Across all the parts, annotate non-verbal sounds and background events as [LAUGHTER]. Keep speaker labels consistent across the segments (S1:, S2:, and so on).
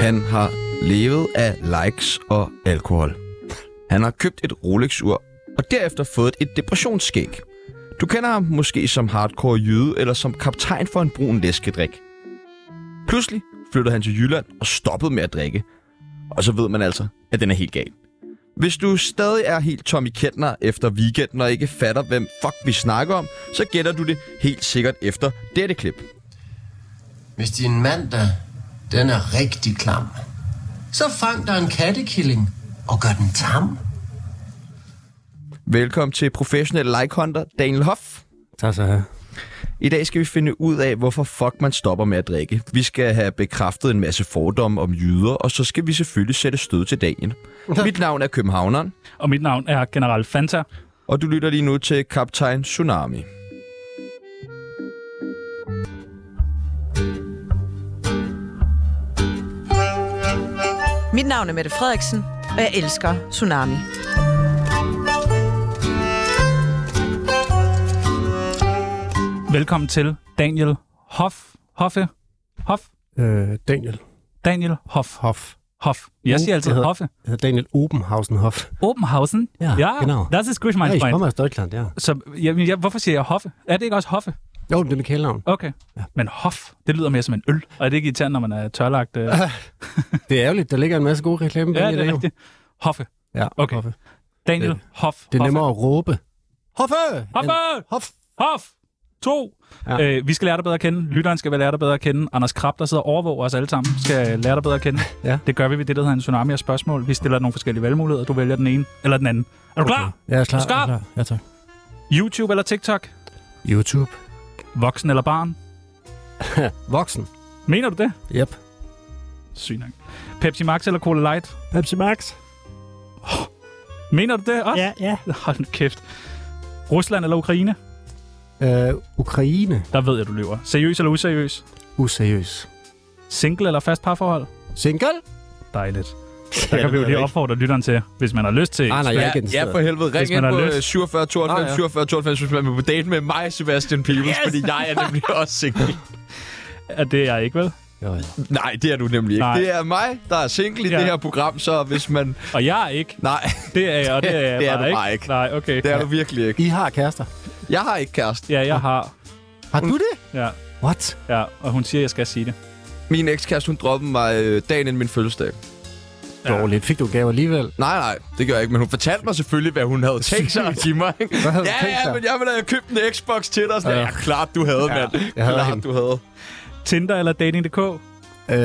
S1: Han har levet af likes og alkohol. Han har købt et Rolex-ur og derefter fået et depressionsskæg. Du kender ham måske som hardcore jyde eller som kaptajn for en brun læskedrik. Pludselig flyttede han til Jylland og stoppede med at drikke. Og så ved man altså, at den er helt gal. Hvis du stadig er helt Tommy Kentner efter weekenden og ikke fatter, hvem fuck vi snakker om, så gætter du det helt sikkert efter dette klip.
S2: Hvis din mandag, den er rigtig klam, så fang dig en kattekilling og gør den tam.
S1: Velkommen til professionel like hunter Daniel Hoff.
S3: Tak så her.
S1: I dag skal vi finde ud af, hvorfor fuck man stopper med at drikke. Vi skal have bekræftet en masse fordomme om jyder, og så skal vi selvfølgelig sætte stød til dagen. Mit navn er Københavneren,
S3: Og mit navn er General Fanta.
S1: og du lytter lige nu til Kaptajn Tsunami.
S4: Mit navn er Mette Frederiksen, og jeg elsker Tsunami.
S3: Velkommen til Daniel Hoff. Hoffe? Hoff?
S5: Øh, Daniel
S3: Daniel Hoff.
S5: Hoff.
S3: Hoff. Jeg siger
S5: Uh,
S3: altid
S5: det hedder-
S3: Hoffe.
S5: Altså Daniel Obenhausenhoff.
S3: Obenhausen?
S5: Ja, genau.
S3: das ist gut,
S5: Ja,
S3: mein
S5: ich
S3: Freund.
S5: komme aus Deutschland, ja.
S3: Så, jamen, jeg, hvorfor siger jeg Hoffe? Er det ikke også Hoffe?
S5: Jo, det er mit kælenavn.
S3: Okay. Ja. Men Hoff, det lyder mere som en øl. Og er det ikke irriterende, når man er tørlagt?
S5: [LAUGHS]
S3: Øh... ja,
S5: Det er ærgerligt, der ligger en masse gode reklame
S3: det er rigtigt. Hoffe.
S5: Ja,
S3: Okay.
S5: Hoffe.
S3: Daniel
S5: Det-
S3: Hoff.
S5: Det er
S3: Hoffe.
S5: nemmere at råbe. Hoffe!
S3: Hoffe!
S5: end- Hoff!
S3: Hof! To!
S5: Ja.
S3: Ja. Øh, vi skal lære dig bedre at kende. Lytteren skal lære dig bedre at kende. Anders Krab, der sidder og overvåger os alle sammen, skal lære dig bedre at kende.
S5: Ja.
S3: Det gør vi ved det, der hedder en tsunami af spørgsmål. Vi stiller nogle forskellige valgmuligheder. Du vælger den ene eller den anden. Er du okay. klar?
S5: Ja, jeg er klar.
S3: Skab!
S5: jeg er klar. Ja, tak.
S3: YouTube eller TikTok?
S5: YouTube.
S3: Voksen eller barn?
S5: Voksen.
S3: Mener du det?
S5: Yep.
S3: Sygt nok. Pepsi Max eller Cola Light?
S5: Pepsi Max.
S3: Mener du det også?
S5: Ja, ja.
S3: [LAUGHS] Hold nu kæft. Rusland eller Ukraine?
S5: Øh, Ukraine.
S3: Der ved jeg, du løber. Seriøs eller useriøs?
S5: Useriøs.
S3: Single eller fast parforhold?
S5: Single?
S3: Dejligt. Der kan vi jo lige opfordre lytteren til, hvis man har lyst til.
S5: Ah, nej, jeg er ikke
S1: Ja, for helvede. Ring
S3: Hvis man
S1: ind
S3: har
S1: på
S3: lyst.
S1: øh, 47 92
S5: Ah,
S1: 47
S5: ja.
S1: 92, hvis man vil på date med mig, Sebastian Peebles, yes! fordi jeg er nemlig
S3: [LAUGHS]
S1: også single.
S3: Er det er jeg ikke, vel?
S5: Jo, ja.
S1: Nej, det er du nemlig ikke.
S3: Nej.
S1: Det er mig, der er single i
S3: Ja.
S1: det her program, så hvis man...
S3: Og jeg er ikke.
S1: Nej,
S3: Det er jeg, og det er
S1: [LAUGHS]
S3: jeg
S1: Det er
S3: bare,
S1: du
S3: ikke.
S1: bare ikke.
S3: Nej, okay.
S1: det er du virkelig ikke.
S5: I har kærester.
S1: Jeg har ikke kæreste.
S3: Ja, jeg har.
S5: Har du det?
S3: Ja,
S5: What?
S3: ja, og hun siger, at jeg skal sige det.
S1: Min ekskæreste, hun droppede mig øh, dagen inden min fødselsdag.
S5: Dårligt. Fik du en gave alligevel?
S1: Nej, nej, det gør jeg ikke, men hun fortalte mig selvfølgelig, hvad hun havde tænkt sig at give mig. ikke?
S5: Hvad havde du
S1: ja,
S5: tænkt
S1: ja,
S5: dig?
S1: men jeg ville have købt en Xbox til dig. Sådan, ja.
S5: Ja.
S1: ja, klart du havde, ja, mand.
S5: jeg havde
S1: klart
S5: hende.
S1: du havde.
S3: Tinder eller Dating.dk?
S5: Øh,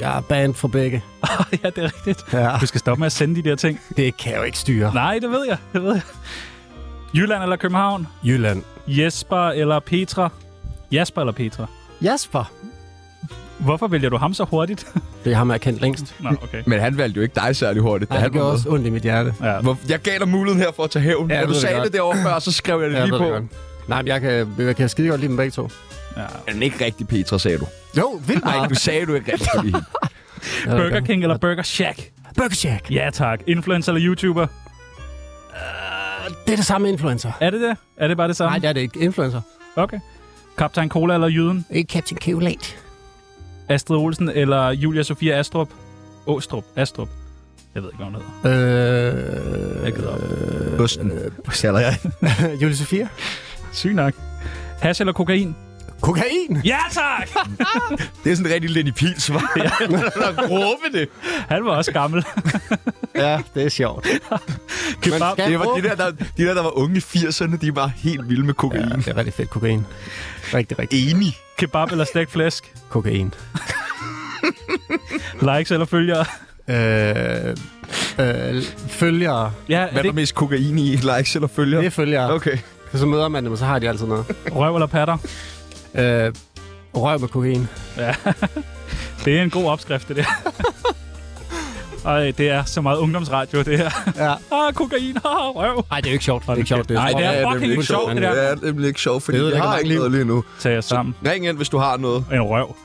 S5: jeg er banned for begge.
S3: [LAUGHS] ja, det er rigtigt.
S5: Ja.
S3: Du skal stoppe med at sende de der ting.
S5: Det kan jeg jo ikke styre.
S3: Nej, det ved jeg. Det ved jeg. Jylland eller København?
S5: Jylland.
S3: Jesper eller Petra? Jasper eller Petra?
S5: Jasper.
S3: Hvorfor vælger du ham så hurtigt? [LAUGHS]
S5: Det er ham, jeg har kendt længst.
S3: Nå, okay.
S1: Men han valgte jo ikke dig særlig hurtigt. da
S5: Nej, det
S1: han var
S5: gør
S1: med.
S5: også ondt i mit hjerte.
S3: Ja.
S1: Hvor, jeg gav dig muligheden her for at tage hævn.
S5: Ja,
S1: Ja,
S5: jeg
S1: du
S5: ved det
S1: sagde det,
S5: godt.
S1: derovre før, så skrev jeg det lige på.
S5: Nej, men jeg kan, jeg kan skide godt lide dem begge to.
S3: ja.
S1: Men ikke rigtig, Petra, sagde du.
S5: Jo, vildt
S1: Nej, du sagde du ikke [LAUGHS] rigtig. fordi-
S3: Burger King eller Burger Shack?
S5: Burger Shack.
S3: Ja, tak. Influencer eller YouTuber?
S5: Det er det samme influencer.
S3: Er det det? Er det bare det samme?
S5: Nej, det er det ikke. Influencer.
S3: Okay. Kaptajn Cola eller Jyden?
S5: Ikke Captain Kivlate.
S3: Astrid Olsen eller Julia Sofia Astrup? Åstrup. Astrup. Jeg ved ikke, hvad hun hedder.
S5: Øh...
S3: Jeg
S5: [LAUGHS]
S3: gider op.
S1: Osten. Kalder øh, jeg.
S5: Julie Sofia.
S3: Syg nok. Hash eller kokain?
S5: Kokain.
S3: Ja,
S5: [LAUGHS]
S3: tak!
S1: Det er sådan en rigtig Lenny Pils, var. Eller råbe det.
S3: Han var også gammel. [LAUGHS]
S5: ja, det er sjovt.
S3: Kebab.
S5: skal-
S1: Det var de der, der, de der, der var unge i 80'erne, de var helt vilde med
S5: Ja,
S1: kokain.
S5: det er rigtig fedt kokain. Rigtig, rigtig
S1: Enig.
S3: Kebab eller stegt flæsk?
S5: kokain.
S3: Likes eller følgere?
S5: Øh, øh, følgere.
S3: Ja,
S1: [LAUGHS] Hvad
S3: er
S1: er
S3: det
S1: der
S3: ikke
S1: mest kokain i? Likes eller følger?
S5: Det er følgere. Okay.
S1: Okay.
S5: Så møder man dem, og så har de altid noget.
S3: røv eller patter?
S5: Øh, røv med kokain.
S3: Det er en god opskrift, det
S5: [LAUGHS]
S3: der. Ej, det er så meget ungdomsradio, det her.
S5: Ja.
S3: [LAUGHS] Ah, kokain, ah, røv.
S5: Nej, det er jo ikke sjovt. Det er ikke sjovt.
S3: Nej, det er
S1: Ja,
S3: fucking
S1: nemlig
S3: ikke sjovt, det der.
S1: Det er nemlig ikke sjovt, fordi
S5: Det
S1: jeg,
S5: ødelægger
S1: har
S5: mange
S1: ikke noget lige nu.
S3: Tag jer sammen.
S1: Ring ind, hvis du har noget.
S3: en
S5: [LAUGHS]
S3: røv.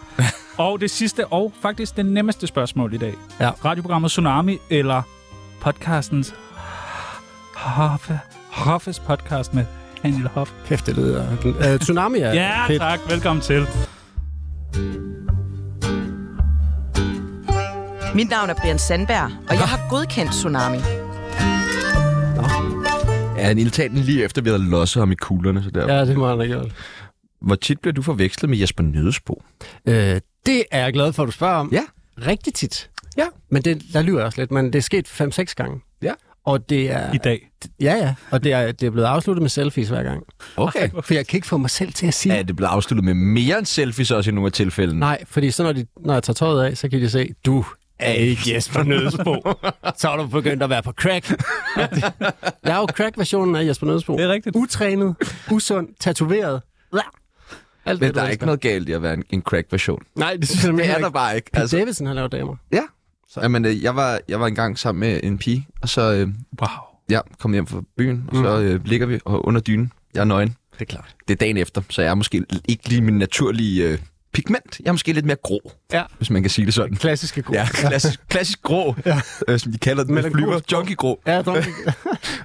S3: og det sidste og faktisk det nemmeste spørgsmål i dag.
S5: Ja.
S3: Radioprogrammet Tsunami eller podcastens Hoffe, Hoffes podcast med Daniel Hoff.
S5: Kæft, det lyder... Øh, tsunami er
S3: [LAUGHS] Ja,
S5: fedt.
S3: tak. Velkommen til.
S4: Mit navn er Brian Sandberg, og jeg har godkendt Tsunami.
S1: Ja, han ildtalte den lige efter, vi havde losset ham i kuglerne. Så der. Ja.
S5: Ja, det må han have gjort.
S1: Hvor tit bliver du forvekslet med Jesper Nødesbo?
S5: Øh, det er jeg glad for, at du spørger om.
S1: Ja.
S5: Rigtig tit.
S1: Ja.
S5: Men det, der lyver jeg også lidt, men det er sket 5-6 gange.
S1: Ja.
S5: Og det er...
S3: I dag.
S5: Ja, ja. Og det er, det er blevet afsluttet med selfies hver gang.
S1: Okay.
S5: For jeg kan ikke få mig selv til at sige...
S1: Er det blevet afsluttet med mere end selfies også i nogle af tilfældene?
S5: Nej, fordi så når, de, når jeg tager tøjet af, så kan de se, du er ikke Jesper Nødsbo. så er du begyndt at være på
S3: [LAUGHS]
S5: crack. jeg er jo crack-versionen af Jesper Nødsbo.
S3: Det er rigtigt.
S5: Utrænet, usund, tatoveret. Blah. Alt
S1: Men
S5: det,
S1: der er ikke noget galt i at være en, en crack-version.
S5: Nej, det synes jeg
S1: Det
S5: ikke.
S1: er der bare ikke.
S5: Pete Davidson, han laver damer.
S1: Ja. Så. Jamen, øh, jeg var, jeg var engang sammen med en pige, og så øh,
S3: Wow.
S1: jeg kom hjem fra byen, og så øh, ligger vi og under dynen. Jeg er nøgen.
S5: Det er klart.
S1: Det er dagen efter, så jeg er måske ikke lige min naturlige øh, pigment. Jeg er måske lidt mere grå,
S5: Ja.
S1: hvis man kan sige det sådan.
S5: Klassiske gode.
S1: Ja, klassisk, klassisk grå, ja. øh, som de kalder den. med
S5: Melankolsk
S1: Flyver,
S5: grå.
S1: junkie-grå.
S5: Ja, dog.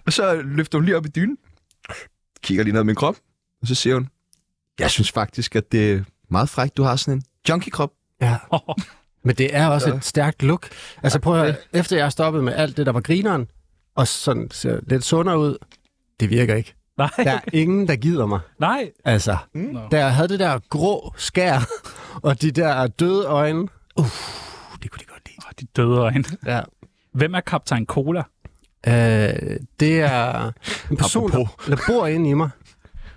S1: Og så løfter hun lige op i dynen, kigger lige ned i min krop, og så siger hun, jeg synes faktisk, at det er meget frækt, du har sådan en junkie-krop.
S5: [LAUGHS] ja. Men det er også et stærkt look. Altså prøv at høre, efter jeg stoppede med alt det, der var grineren, og sådan ser lidt sundere ud, det virker ikke.
S3: Nej,
S5: [LAUGHS] Der er ingen, der gider mig.
S3: nej.
S5: Altså, mm. da jeg havde det der grå skær, [LAUGHS] og de der døde øjne, uh, det kunne de godt lide.
S3: Oh, de døde øjne.
S5: Ja.
S3: Hvem er kaptajn Cola?
S5: Øh, det er en person, der, der bor inde i mig.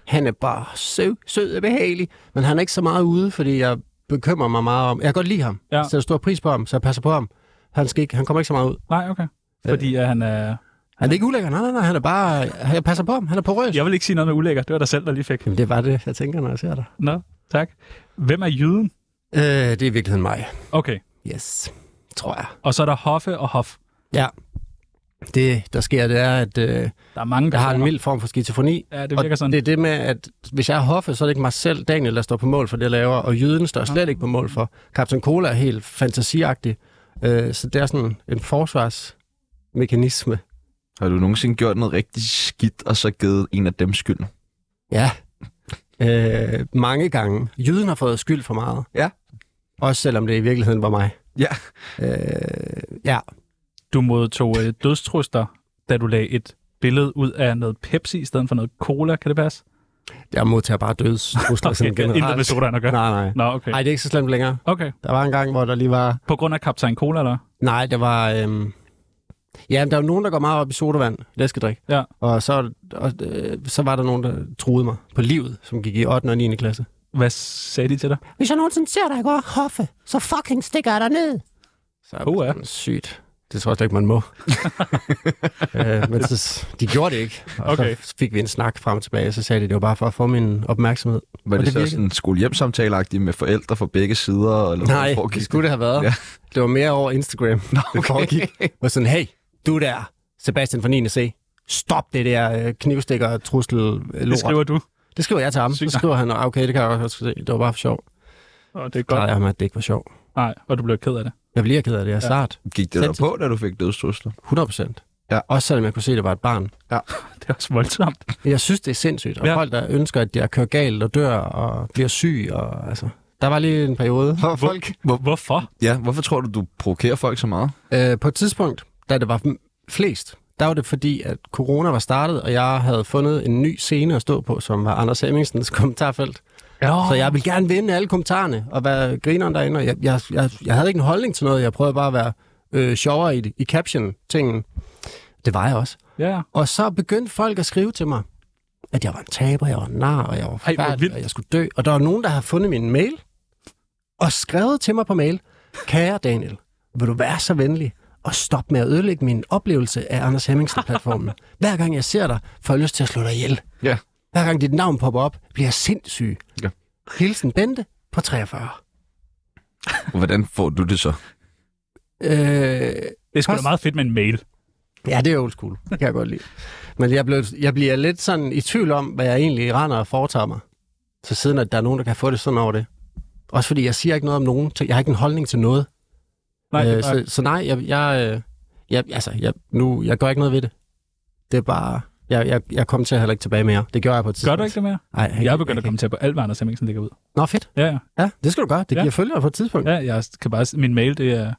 S5: Han er bare sød, sød og behagelig, men han er ikke så meget ude, fordi jeg bekymrer mig meget om... Jeg kan godt lide ham.
S3: Ja.
S5: Jeg sætter stor pris på ham, så jeg passer på ham. Han, skal ikke, han kommer ikke så meget ud.
S3: Nej, okay. Fordi øh. han er...
S5: Han er ikke ulækker. Nej, nej, nej. Han er bare... Jeg passer på ham. Han er på røs.
S3: Jeg vil ikke sige noget med ulækker. Det var dig selv, der lige fik.
S5: Jamen, det var det, jeg tænker, når jeg ser dig.
S3: Nå, tak. Hvem er jyden?
S5: Øh, det er i virkeligheden mig.
S3: Okay.
S5: Yes. Tror jeg.
S3: Og så er der Hoffe og Hof.
S5: Ja. Det, der sker, det er, at øh,
S3: Der er mange, der
S5: jeg har en mild form for skizofreni.
S3: Ja, det virker
S5: og
S3: sådan.
S5: det er det med, at hvis jeg er hoffe, så er det ikke mig selv, Daniel, der står på mål for det, jeg laver, og jyden står slet ikke på mål for. Captain Cola er helt fantasiagtig. Øh, så det er sådan en forsvarsmekanisme.
S1: Har du nogensinde gjort noget rigtig skidt, og så givet en af dem skylden?
S5: Ja. Øh, mange gange. Jyden har fået skyld for meget.
S1: Ja.
S5: Også selvom det i virkeligheden var mig.
S1: Ja.
S5: Øh, ja.
S3: Du modtog øh, dødstruster, da du lagde et billede ud af noget Pepsi i stedet for noget cola. Kan det passe?
S5: Jeg modtager bare dødstrusler
S3: [LAUGHS]
S5: okay, sådan
S3: det har
S5: generelt.
S3: intet med sodaen at gøre.
S5: Nej, nej.
S3: Nå, okay.
S5: Nej, det er ikke så slemt længere.
S3: Okay.
S5: Der var en gang, hvor der lige var...
S3: På grund af kaptajn Cola, eller?
S5: Nej, der var... Øhm... Ja, men der var nogen, der går meget op i sodavand, læskedrik.
S3: Ja.
S5: Og så, og, øh, så var der nogen, der truede mig på livet, som gik i 8. og 9. klasse.
S3: Hvad sagde de til dig?
S5: Hvis jeg nogensinde ser dig gå hoffe, så fucking stikker jeg dig ned. Så er
S3: Uha.
S5: det sygt. Det tror jeg slet ikke, man
S3: [LAUGHS]
S5: må. øh, men så, de gjorde det ikke. Og
S3: Okay.
S5: så fik vi en snak frem og tilbage, og så sagde de, det var bare for at få min opmærksomhed.
S1: Var det,
S5: det
S1: det så sådan
S5: virkede.
S1: skolehjemsamtale-agtigt med forældre fra begge sider? Eller
S5: Nej,
S1: hvor foregik
S5: det skulle det have været.
S1: Ja.
S5: Ja. Det var mere over Instagram, Nå, okay. [LAUGHS] det foregik. Det var sådan, hey, du der, Sebastian fra 9. C, stop det der øh, knivstikker og trussel øh,
S3: Det
S5: lort.
S3: skriver du.
S5: det skriver jeg til ham. Så
S3: Sygt.
S5: skriver han, "Nå, okay, det kan jeg også se. Det var bare for sjov.
S3: Og det er
S5: Godt.
S3: godt.
S5: Jeg ham, at det ikke var sjov.
S3: Nej, og du blev ked af det. [LAUGHS]
S5: Jeg bliver ked af det, jeg er sart.
S1: Gik det der
S5: Sindssygt.
S1: på, da du fik dødstrusler?
S5: 100 procent.
S1: Ja.
S5: Også selvom jeg kunne se, at det var et barn.
S3: Det er også voldsomt.
S5: Jeg synes, det er sindssygt. Og
S3: Ja.
S5: ja. folk, der ønsker, at jeg kører galt og dør og bliver syg. Og, altså, der var lige en periode, hvor folk...
S3: Hvorfor?
S1: Ja, hvorfor tror du, du provokerer folk så meget?
S5: Øh, på et tidspunkt, da det var m- flest, der var det fordi, at corona var startet, og jeg havde fundet en ny scene at stå på, som var Anders Hemmingsens [LAUGHS] kommentarfelt.
S3: Nå,
S5: Så jeg ville gerne vinde alle kommentarerne og være grineren derinde. Og jeg, jeg, jeg, jeg havde ikke en holdning til noget. Jeg prøvede bare at være øh, sjovere i, i caption-tingen. Det var jeg også.
S3: ja.
S5: Og så begyndte folk at skrive til mig, at jeg var en taber, jeg var en nar, og jeg var
S3: Ej, hvor
S5: forfærdelig,
S3: vildt.
S5: og jeg skulle dø. Og der var nogen, der havde fundet min mail, og skrevet til mig på mail, kære Daniel, vil du være så venlig og stop med at ødelægge min oplevelse af Anders Hemmingsen-platformen. Hver gang jeg ser dig, får jeg lyst til at slå dig ihjel.
S1: Ja.
S5: Hver gang dit navn popper op, bliver jeg sindssyg.
S1: Ja.
S5: Hilsen Bente på 43.
S1: Og hvordan får du det så?
S5: Øh,
S3: Det er sgu da
S5: Kost-
S3: meget fedt med en mail.
S5: Ja, det er old school. Det kan jeg godt lide. Men jeg, blev, jeg bliver lidt sådan i tvivl om, hvad jeg egentlig render og foretager mig. Så siden at der er nogen, der kan få det sådan over det. Også fordi jeg siger ikke noget om nogen. ting. Jeg har ikke en holdning til noget.
S3: Nej, øh,
S5: øh, så, så nej, jeg, jeg, øh, Jeg, altså, jeg, nu, jeg gør ikke noget ved det. Det er bare... Jeg, jeg, jeg kom til heller ikke tilbage mere. Det gjorde jeg på
S3: Gør
S5: et tidspunkt.
S3: du ikke det mere?
S5: Nej, jeg,
S3: Jeg er begyndt at komme til på alt, hvad Anders Hemmingsen lægger ud.
S5: Nå, fedt.
S3: Ja, ja.
S5: Ja, det skal du gøre. Det
S3: Ja.
S5: giver følgere på et tidspunkt.
S3: ja jeg kan bare, min mail, det er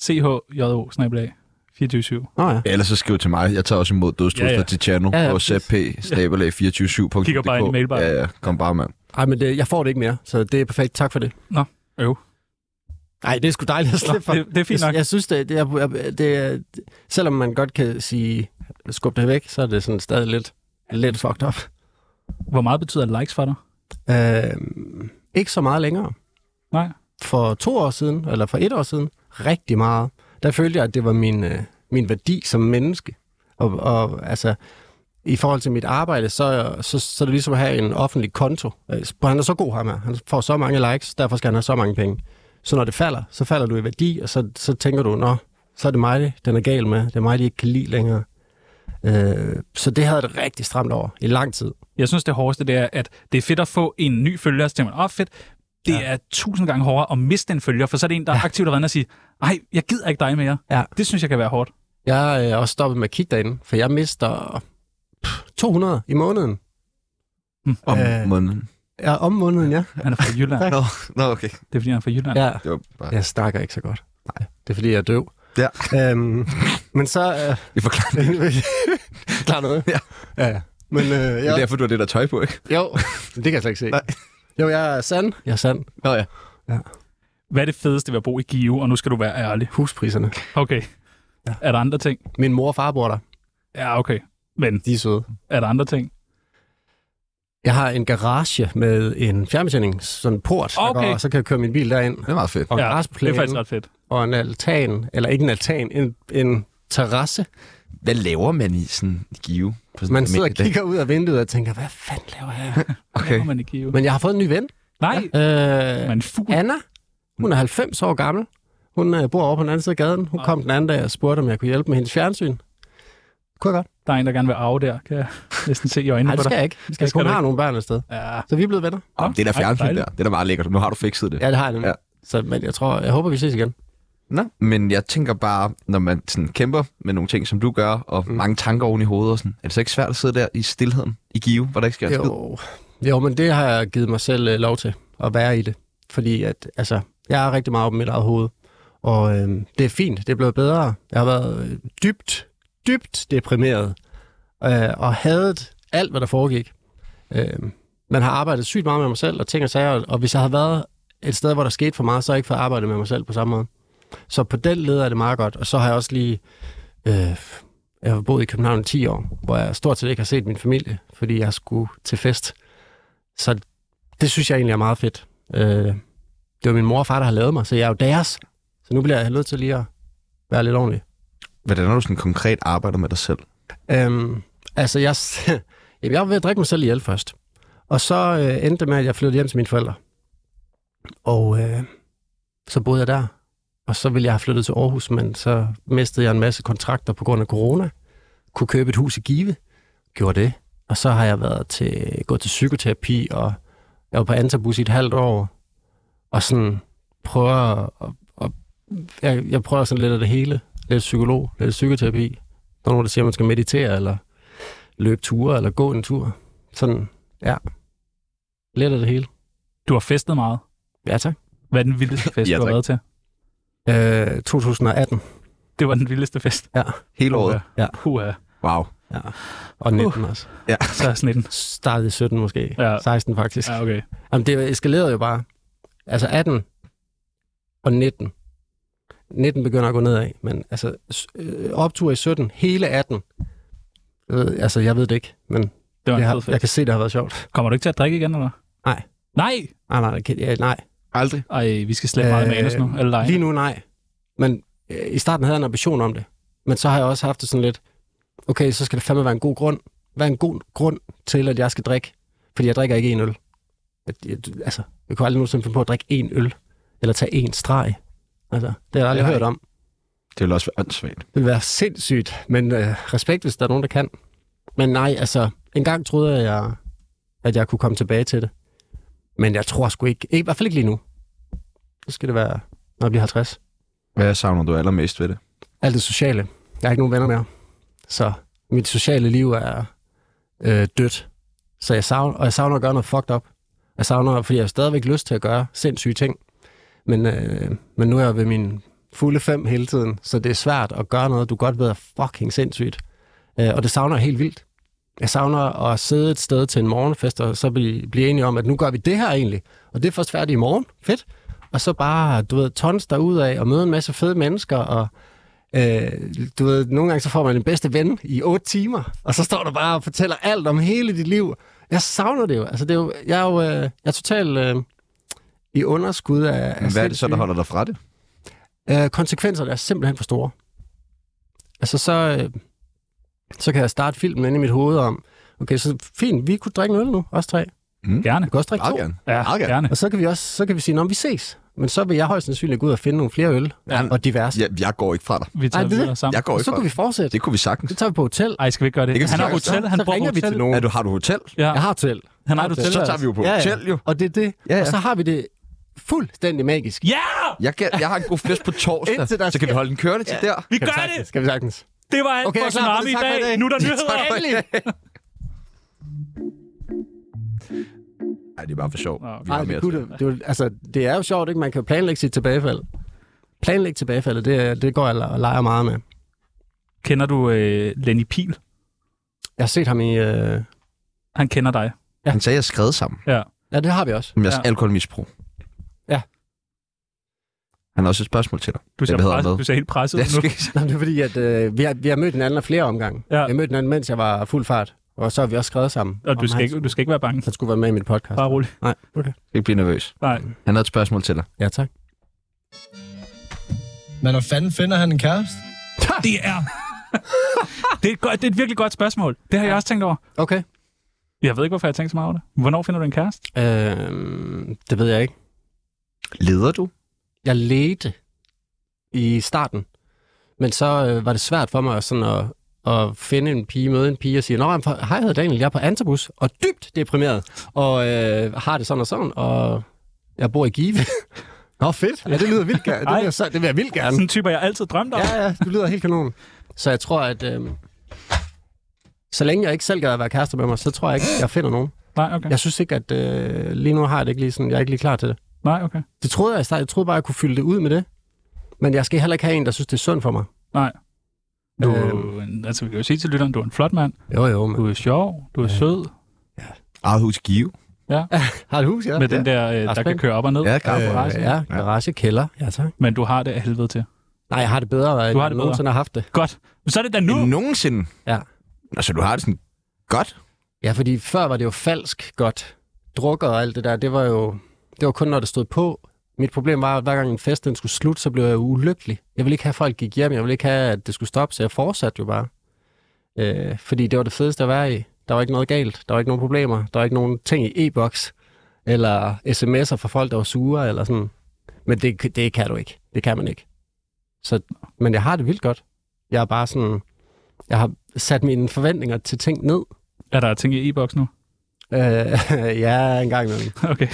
S3: chjo [LAUGHS] 247
S5: Nå ja.
S1: Ellers så skriv til mig. Jeg tager også imod dødstrusler
S3: Ja,
S1: ja,
S3: ja.
S1: ja. til Tjerno
S5: Ja,
S1: ja,
S5: ja,
S1: ja, på zp 247dk
S3: Kigger bare ind i mailbakken.
S1: Ja, ja. Kom bare, mand.
S5: Ej, men det, jeg får det ikke mere, så det er perfekt. Tak for det.
S3: Øv.
S5: Nej, det er sgu dejligt at slippe for.
S3: det- det er fint nok.
S5: Jeg, jeg synes, det, det, er, jeg- det er, selvom man godt kan sige, skub det væk, så er det sådan stadig lidt, lidt fucked up.
S3: Hvor meget betyder likes for dig?
S5: Øh, ikke så meget længere.
S3: Nej.
S5: For to år siden, eller for et år siden, rigtig meget, der følte jeg, at det var min, øh, min værdi som menneske. Og, og altså, i forhold til mit arbejde, så, så, så er det ligesom at have en offentlig konto. Øh, Han er så god, ham her. Han får så mange likes, derfor skal han have så mange penge. Så når det falder, så falder du i værdi, og så, så tænker du, nå, så er det mig, den er gal med. Det er mig, de ikke kan lide længere. Øh, så det havde jeg det rigtig stramt over i lang tid.
S3: Jeg synes, det hårdeste det er, at det er fedt at få en ny følger, så tænker man, åh oh, fedt, det ja. er tusind gange hårdere at miste en følger, for så er det en, der ja. aktivt har været inde og sige, ej, jeg gider ikke dig mere.
S5: Ja.
S3: Det synes jeg kan være hårdt.
S5: Jeg øh, er også stoppet med at kigge derinde, for jeg mister pff, 200 i måneden.
S1: Om
S5: Øh.
S1: øh. måneden.
S5: Ja, om måneden, ja.
S3: Han er [LAUGHS] fra Jylland.
S1: Nå, nå, okay.
S3: Det er, fordi han er fra Jylland.
S5: ja.
S1: Det var bare...
S5: Jeg snakker ikke så godt. Nej, det er, fordi jeg er døv.
S1: Ja.
S5: Øhm, men så... Øh, [LAUGHS]
S1: Vi forklarer det.
S5: Klar noget? Ja. ja. Men øh,
S1: Det er
S5: jeg,
S1: derfor, du har det der tøj på, ikke?
S5: jo, det kan jeg slet ikke se.
S1: Nej.
S5: Jo, jeg er sand. Jeg er sand.
S1: Nå ja.
S3: Hvad er det fedeste ved at bo i Give? Og nu skal du være ærlig.
S5: Huspriserne.
S3: Okay. Ja. Er der andre ting?
S5: Min mor og far bor der.
S3: Ja, okay. Men
S5: De er søde.
S3: er der andre ting?
S5: Jeg har en garage med en fjernbetjening, sådan en port, der
S3: Okay.
S5: går, og så kan jeg køre min bil derind.
S1: Det er meget fedt.
S5: Og en
S3: Ja, Det er
S5: græsplæne,
S3: faktisk ret fedt.
S5: og en altan, eller ikke en altan, en, en terrasse,
S1: Hvad laver man i sådan i give? På sådan
S5: Man
S1: en
S5: sidder og
S1: almindelig dag?
S5: kigger ud af vinduet og tænker, hvad fanden laver jeg?
S1: Okay.
S3: Kommer man i Give?
S5: Men jeg har fået en ny ven.
S3: Nej,
S5: Øh,
S3: man fugl.
S5: Anna, hun er 90 år gammel. Hun øh, bor over på den anden side af gaden. Hun kom den anden dag og spurgte, om jeg kunne hjælpe med hendes fjernsyn. Kunne jeg godt?
S3: Der er en, der gerne vil arve der. Kan jeg næsten se i øjnene
S5: Nej,
S3: på
S5: det skal
S3: dig.
S5: jeg ikke.
S3: skal
S5: hun
S3: du
S5: har nogle børn et sted.
S3: Ja.
S5: Så vi er blevet venner.
S1: Om det der
S3: Ej,
S1: fjernsyn
S3: dejligt.
S1: der, det er da meget lækkert. Nu har du fikset det.
S5: Ja, det har jeg nemlig.
S1: Ja.
S5: Ja. Så, men jeg tror, jeg håber, vi ses igen.
S1: Nå. Men jeg tænker bare, når man sådan kæmper med nogle ting, som du gør, og mm. mange tanker oven i hovedet, og sådan, er det så ikke svært at sidde der i stillheden i give, hvor der ikke sker en skid?
S5: Jo. jo, men det har jeg givet mig selv øh, lov til at være i det. Fordi at, altså, jeg er rigtig meget oppe i mit eget hoved. Og øh, det er fint, det er blevet bedre. Jeg har været øh, dybt, dybt deprimeret. Øh, og hadet alt, hvad der foregik. Øh, man har arbejdet sygt meget med mig selv og ting og sager. og- Og hvis jeg havde været et sted, hvor der skete for meget, så har jeg ikke fået arbejdet med mig selv på samme måde. Så på den led er det meget godt. Og så har jeg også lige... Øh, jeg har boet i København i 10 år, hvor jeg stort set ikke har set min familie, fordi jeg skulle til fest. Så det synes jeg egentlig er meget fedt. Øh, det var min mor og far, der har lavet mig, så jeg er jo deres. Så nu bliver jeg nødt til lige at være lidt ordentlig.
S1: Hvordan har du sådan konkret arbejder med dig selv?
S5: Øhm, altså, jeg, [LAUGHS] jamen, jeg var ved at drikke mig selv ihjel først. Og så øh, endte det med, at jeg flyttede hjem til mine forældre. Og øh, så boede jeg der. Og så ville jeg have flyttet til Aarhus, men så mistede jeg en masse kontrakter på grund af corona. Kunne købe et hus i Give. Gjorde det. Og så har jeg været til, gået til psykoterapi, og jeg var på Antabus i et halvt år. Og sådan prøver at, at, at jeg, jeg prøver sådan lidt af det hele. Lidt psykolog, lidt psykoterapi. Der er nogen, der siger, at man skal meditere, eller løbe ture, eller gå en tur. Sådan, ja. Lidt af det hele.
S3: Du har festet meget.
S5: Ja, tak.
S3: Hvad er den vildeste fest,
S1: Ja,
S3: du har
S1: tak.
S3: været til?
S5: Øh, 2018
S3: Det var den vildeste fest.
S1: Hele året?
S5: Ja.
S3: Puha.
S1: Wow.
S5: og 19 uh. også.
S3: Så er snitten.
S5: Startede i 17 måske.
S3: Ja.
S5: Ja. 16 faktisk.
S3: Ja,
S5: Ja.
S3: okay.
S5: Jamen, det eskalerede jo bare. Altså 18 og 19. 19 begynder at gå nedad, men altså s- øh, optur i 17, hele 18. Øh, altså, jeg ved det ikke, men
S3: Det var
S5: det
S3: en
S5: har,
S3: fed
S5: jeg
S3: fest.
S5: kan se, det har været sjovt.
S3: Kommer du ikke til at drikke igen, eller?
S5: Nej.
S3: Nej!
S5: Nej, nej, nej, ja, nej.
S1: Aldrig.
S3: Ej, vi skal slæbe meget
S5: Øh,
S3: manus nu. Eller
S5: Nej.
S3: dig.
S5: Lige nu nej. Men øh, i starten havde jeg en ambition om det. Men så har jeg også haft det sådan lidt, okay, så skal det fandme være en god grund. Hvad er en god grund til, at jeg skal drikke? Fordi jeg drikker ikke en øl. At jeg- Altså, jeg kunne aldrig nogensinde finde på at drikke en øl. Eller tage en streg. Altså, det har jeg aldrig
S1: Nej.
S5: hørt om.
S1: Det ville også være åndssvagt.
S5: Det vil være sindssygt, men øh, respekt, hvis der er nogen, der kan. Men nej, altså, en gang troede jeg, at jeg, at jeg kunne komme tilbage til det. Men jeg tror sgu ikke, ikke i hvert fald ikke lige nu. Så skal det være, når jeg bliver 50.
S1: Hvad savner du allermest ved det?
S5: Alt det sociale. Jeg har ikke nogen venner mere. Så mit sociale liv er øh, dødt. Så jeg savner, og jeg savner at gøre noget fucked up. Jeg savner, fordi jeg har stadigvæk lyst til at gøre sindssyge ting. Men, øh, men nu er jeg ved min fulde fem hele tiden, så det er svært at gøre noget, du godt ved er fucking sindssygt. Øh, og det savner jeg helt vildt. Jeg savner at sidde et sted til en morgenfest, og så blive, blive enige om, at nu gør vi det her egentlig, og det er først færdigt i morgen. Fedt. Og så bare, du ved, tons derud af og møde en masse fede mennesker, og øh, du ved, nogle gange så får man den bedste ven i otte timer, og så står du bare og fortæller alt om hele dit liv. Jeg savner det jo. Altså, det er jo, jeg er jo øh, jeg er totalt øh, i underskud af... af
S1: Men hvad er det så,
S5: sindssyge-
S1: der holder dig fra det?
S5: Øh, konsekvenserne er simpelthen for store. Altså, så, øh, så kan jeg starte filmen inde i mit hoved om, okay, så fint, vi kunne drikke en øl nu, os tre.
S3: Gerne.
S5: Vi kan også drikke to.
S1: Meget gerne.
S3: Ja,
S1: meget gerne.
S3: gerne.
S5: Og så kan vi også så kan vi sige, når vi ses. Men så vil jeg højst sandsynligt gå ud og finde nogle flere øl
S1: Ja.
S5: ja. og diverse.
S1: Jeg, jeg går ikke fra dig.
S3: Vi tager
S5: Ej, det-
S3: videre sammen.
S1: Jeg går
S5: Og
S1: ikke
S5: så
S1: fra
S5: kan vi
S1: dig.
S5: fortsætte.
S1: Det kunne vi sagtens.
S5: Det tager vi på hotel.
S3: Ej, skal vi ikke gøre det?
S1: Det kan vi
S3: han har
S1: sagtens
S3: hotel,
S5: gøre.
S3: han
S5: Så
S3: bor på
S5: ringer vi
S3: hotel.
S5: til
S1: Ja, du har du hotel?
S3: Ja,
S5: Jeg har hotel.
S3: han har et hotel.
S1: Så tager vi jo på
S5: Ja, ja.
S1: hotel, jo.
S5: Og det er det.
S1: Ja, ja.
S5: Og så har vi det fuldstændig magisk.
S3: Ja!
S1: Jeg, kan, jeg har en god fest på
S5: Indtil
S1: torsdag,
S5: der
S1: så kan vi
S5: sker-
S1: holde en kørende til der.
S3: Vi
S5: Kan vi
S3: gør det!
S5: sagtens. Skal vi sagtens.
S3: Det var alt
S5: Okay,
S3: for
S5: jeg er klar for
S3: Tsunami i
S5: det. [LAUGHS]
S3: dag.
S5: Tak for i dag.
S3: Nu er der nyheder.
S1: for i dag. Ej, det er bare for sjov. Vi
S5: Nej,
S1: har
S5: det,
S1: mere.
S5: kunne det, det, var- altså, det er jo sjovt, ikke? Man kan jo planlægge sit tilbagefald. Planlægge tilbagefaldet, det, er- det går jeg og leger meget med.
S3: Kender du øh, Lenny Pil?
S5: Jeg har set ham i... Øh...
S3: Han kender dig.
S1: Han sagde, at jeg skrev sammen
S3: Ja.
S5: Ja, det har vi også. [LAUGHS]
S1: om jeres
S3: Ja.
S1: ja. alkoholmisbrug.
S5: Ja.
S1: Han har også et spørgsmål til dig.
S3: Du ser,
S1: Hvad hedder han
S3: presset,
S1: med?
S3: du ser helt
S1: [LAUGHS]
S3: presset
S1: Jeg
S3: ud nu.
S1: skal...
S5: Nå, men det er fordi, at øh, vi, har, vi har mødt hinanden af flere omgange.
S3: Ja.
S5: Ja. Jeg mødte hinanden, mens jeg var fuld fart. Og så har vi også skrevet sammen.
S3: Og du
S5: om
S3: skal,
S5: hans-
S3: ikke, du skal ikke være bange.
S5: Han skulle være med i mit podcast.
S3: Bare rolig.
S5: Nej, okay.
S1: Ikke blive nervøs.
S3: Nej.
S1: Han har et spørgsmål til dig.
S5: Ja, tak.
S6: Men når fanden finder han en kæreste?
S3: Det er... [LAUGHS] det, er et godt, det er et virkelig godt spørgsmål. Det har jeg også tænkt over.
S5: Okay.
S3: Jeg ved ikke, hvorfor jeg har tænkt så meget over det. Hvornår finder du en kæreste?
S5: Øh, det ved jeg ikke.
S1: Leder du?
S5: Jeg ledte i starten, men så øh, var det svært for mig sådan at, at finde en pige, møde en pige og sige, Nå, jamen, for- hej, jeg hedder Daniel, jeg er på Antabus, og dybt deprimeret, og øh, har det sådan og sådan, og jeg bor i Give. [LAUGHS] Nå, fedt. Ja, det lyder vildt gerne. Det
S3: Ej.
S5: vil jeg, så, det vil jeg vildt gerne.
S3: Sådan en type, jeg altid drømte om.
S5: Ja, ja, du lyder helt kanon. Så jeg tror, at øh, så længe jeg ikke selv gad at være kærester med mig, så tror jeg ikke, jeg finder nogen.
S3: Nej, okay.
S5: Jeg synes ikke, at øh, lige nu har jeg det ikke lige sådan, jeg er ikke lige klar til det.
S3: Nej, okay.
S5: Det troede jeg i starten. Jeg troede bare, jeg kunne fylde det ud med det. Men jeg skal heller ikke have en, der synes, det er sundt for mig.
S3: Nej. Du,
S5: Øhm.
S3: øhm. altså, vi kan jo sige til lytteren, du er en flot mand.
S5: Jo, jo,
S3: Du er sjov. Du er sød.
S1: Eget hus Give.
S5: Har et hus, ja.
S3: Med den der, øh, der kan
S5: spændende.
S3: køre op og ned.
S1: Ja, klar.
S5: garage.
S3: garage.
S5: Øh, ja, garage, kælder. Ja, tak.
S3: Men du har det af helvede til.
S5: Nej, jeg har det bedre, end
S3: Du har
S5: jeg
S3: det
S5: nogensinde har haft det.
S3: Godt. Men så er det da nu.
S1: End nogensinde.
S5: Ja.
S1: Altså, du har det sådan godt.
S5: Ja, fordi før var det jo falsk godt. Drukker og alt det der, det var jo det var kun, når det stod på. Mit problem var, at hver gang en fest den skulle slutte, så blev jeg ulykkelig. Jeg ville ikke have, at folk gik hjem. Jeg ville ikke have, at det skulle stoppe, så jeg fortsatte jo bare. Øh, fordi det var det fedeste at være i. Der var ikke noget galt. Der var ikke nogen problemer. Der var ikke nogen ting i e-boks. Eller sms'er fra folk, der var sure eller sådan. Men det, det kan du ikke. Det kan man ikke. Så, men jeg har det vildt godt. Jeg er bare sådan... Jeg har sat mine forventninger til ting ned.
S3: Er der ting i e-boks nu?
S5: Øh, [LAUGHS] ja, en gang imellem.
S3: [LAUGHS] Okay.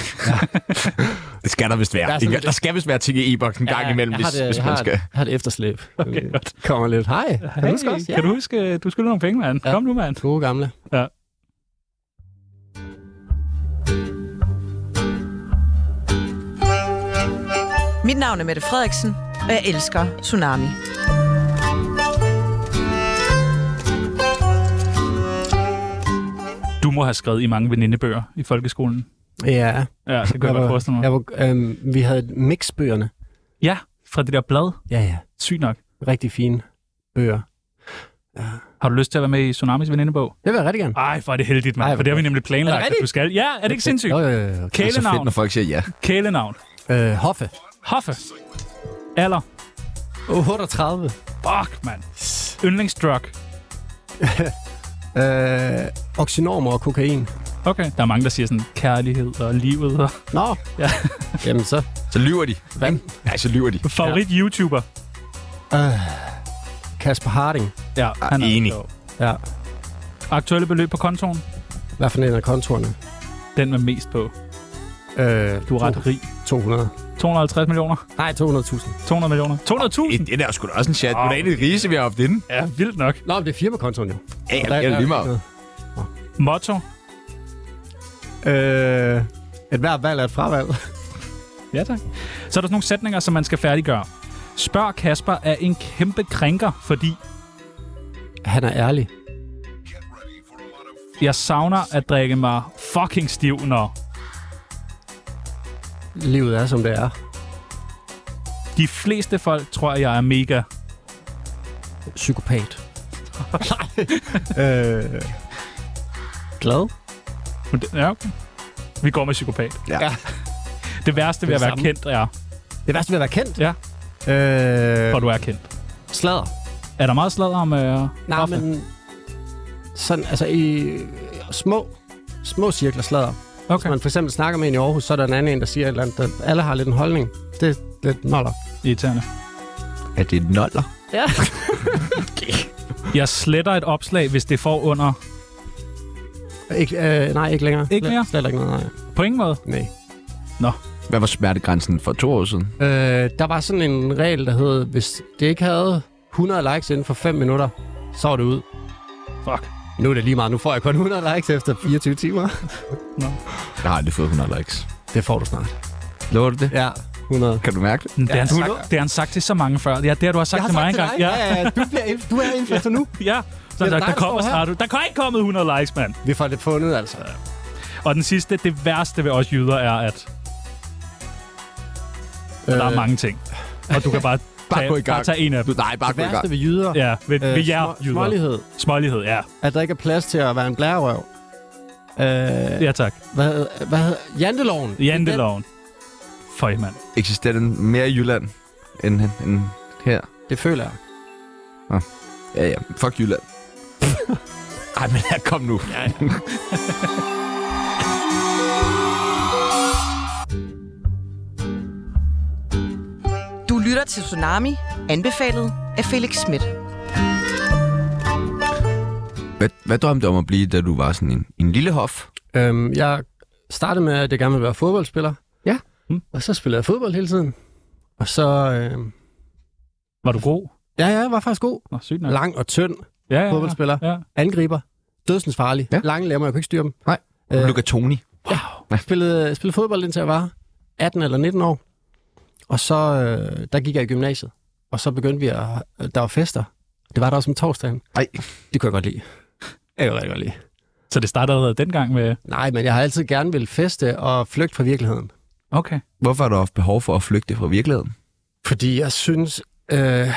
S1: Det skal der vist være.
S5: Der er sådan-
S1: Der, der skal vist være ting i e-boksen en gang imellem, hvis, hvis
S5: jeg
S1: man
S5: har
S1: skal.
S5: Et, jeg har et
S1: [LAUGHS]
S5: efterslæb.
S3: Okay,
S5: Øh,
S3: godt.
S5: Kommer lidt. Hej, kan du huske os?
S3: kan du huske, øh, du skylder nogle penge, mand?
S5: Ja.
S3: Kom nu, mand.
S5: Gode gamle.
S4: Mit navn er Mette Frederiksen, og jeg elsker Tsunami.
S3: Du må have skrevet i mange venindebøger i folkeskolen.
S5: Ja,
S3: Ja, det kan jeg,
S5: jeg
S3: godt
S5: var,
S3: forestille mig.
S5: jeg var, øhm, vi havde mixbøgerne.
S3: Ja, fra det der blad.
S5: Ja, ja.
S3: Sygt nok.
S5: Rigtig fine bøger.
S3: Har du lyst til at være med i Tsunamis venindebog?
S5: Det vil jeg rigtig gerne.
S3: Ej, hvor er det heldigt,
S5: Ej,
S3: mand.
S5: hvor
S3: For det har vi nemlig
S5: Er
S3: planlagt,
S5: det
S3: at du
S5: rigtigt?
S3: skal. Ja, er det ikke sindssygt?
S5: Jo, jo, jo, jo.
S1: Det er så
S3: Kælenavn.
S1: fedt, når folk siger ja.
S3: Kælenavn.
S5: Øh, Hoffe.
S3: Hoffe. Alder.
S5: 38.
S3: Fuck, mand. Yndlingsdrug.
S5: Øh, oxynormer og kokain.
S3: Okay. Der er mange, der siger sådan kærlighed og livet og [LAUGHS]
S5: Nå.
S3: Ja.
S5: [LAUGHS] Jamen så.
S1: Så lyver de.
S5: Hvad?
S1: Ja, så lyver de.
S3: favorit-YouTuber.
S5: Kasper Harding.
S3: Ja, han er
S1: enig.
S3: sjov.
S5: Ja.
S3: Aktuelle beløb på kontoen?
S5: Hvad for en af kontorerne?
S3: Den med mest på.
S5: Øh,
S3: Du er ret rig.
S5: 200.
S3: 250 millioner?
S5: Nej, 200.000.
S3: 200 millioner? 200.000?
S1: [LAUGHS] Det der er sgu da også en chat. Oh. Det er egentlig rise, vi har haft inden.
S3: Ja, vildt nok.
S5: Nå, men det er firmakontoen jo.
S1: Ja, ja, det er lige meget.
S3: Motto?
S5: Øh, et hvert valg er et fravalg.
S3: Ja, tak. Så er der sådan nogle sætninger, som man skal færdiggøre. Spørg Kasper er en kæmpe krænker, fordi
S5: Han er ærlig.
S3: jeg savner at drikke mig fucking stiv, når
S5: Livet er, som det er.
S3: de fleste folk tror, at jeg er mega.
S5: Psykopat. [LAUGHS] øh, glad.
S3: Men det- Ja, okay. Vi går med psykopat.
S5: Ja.
S3: Det værste ved at
S5: Det
S3: være
S5: samme.
S3: kendt er,
S5: Det værste ved at være kendt.
S3: Ja.
S5: Øh,
S3: når du er kendt.
S5: slader.
S3: Er der meget sladder om... Øh,
S5: Nej,
S3: kaffe?
S5: men sådan, altså i øh, små, små cirkler slader.
S3: Okay.
S5: Hvis man for eksempel snakker med en i Aarhus, så er der en anden en, der siger et eller andet. der- Alle har lidt en holdning. Det er lidt noller.
S3: Irriterende.
S1: Er det et noller?
S4: Ja.
S3: Jeg sletter et opslag, hvis det får under...
S5: [LAUGHS] Ikke, øh, nej, ikke længere.
S3: Ikke mere?
S5: Slet, slet ikke noget, nej.
S3: På ingen måde.
S5: nej.
S1: Hvad var smertegrænsen for to år siden?
S5: Øh, der var sådan en regel, der hed, hvis det ikke havde 100 likes inden for 5 minutter, så var det ud.
S3: Fuck.
S5: Nu er det lige meget. Nu får jeg kun 100 likes efter 24 timer.
S1: Jeg har aldrig fået 100 likes.
S5: Det får du snart.
S1: Lover du det?
S5: Ja, 100.
S1: Kan du mærke det?
S3: Det har, han
S5: hundrede.
S3: sagt, det har han sagt til så mange før. Ja, det har du også sagt til mig engang.
S5: Ja, ja, ja. Du, bliver, inf- du er influencer nu.
S3: ja. Så
S5: er
S3: der,
S5: dig,
S3: der
S5: der
S3: kommer
S5: står her.
S3: snart ud. Der kan ikke komme 100 likes, mand.
S5: Vi får det fundet, altså.
S3: Og den sidste, det værste ved os jyder er, at øh. der er mange ting. Og du kan
S5: [LAUGHS]
S3: bare, tage,
S1: gå i gang.
S3: bare tage en af
S1: Du,
S3: dem.
S1: nej, bare gå i gang.
S5: Værste ved jyder.
S3: Ja, ved, øh, ved jer
S5: små-
S3: jyder.
S5: Smålighed.
S3: Smålighed, ja.
S5: At der ikke er plads til at være en blærerøv. Øh,
S3: Ja, tak.
S5: hvad, hvad hedder... Janteloven.
S3: Janteloven. Føj, mand.
S1: Eksisterer den mere i Jylland end, end her?
S5: Det, det føler jeg.
S1: Ja, ja. Fuck Jylland. [LAUGHS] Ej, men her kom nu. Ja, ja.
S4: Du lytter til Tsunami, anbefalet af Felix Schmidt.
S1: Hvad, hvad drømte du om at blive, da du var sådan en, en lille hof?
S5: Øhm, jeg startede med, at jeg gerne ville være fodboldspiller.
S1: Ja.
S5: Mm. Og så spillede jeg fodbold hele tiden. Og så... Øh,
S3: Var du god?
S5: ja, ja, jeg var faktisk god.
S3: Nå, sygt nok.
S5: Lang og tynd
S3: ja, ja, ja.
S5: fodboldspiller.
S3: ja.
S5: Angriber. Dødsens farlig.
S1: Ja.
S5: Ja. Lange lemmer, jeg kunne ikke styre dem.
S1: Nej.
S5: Øh,
S1: Luca Toni.
S5: spillede, spillede fodbold, indtil jeg var 18 eller 19 år. Og så, øh, der gik jeg i gymnasiet. Og så begyndte vi at... øh, Der var fester. Det var der også om torsdagen.
S1: Ej.
S5: Det kunne jeg godt lide. Jeg kunne rigtig godt lide.
S3: Så det startede allerede dengang med...
S5: Nej, men jeg har altid gerne vil feste og flygte fra virkeligheden.
S3: Okay.
S1: Hvorfor har du haft behov for at flygte fra virkeligheden?
S5: Fordi jeg synes, øh,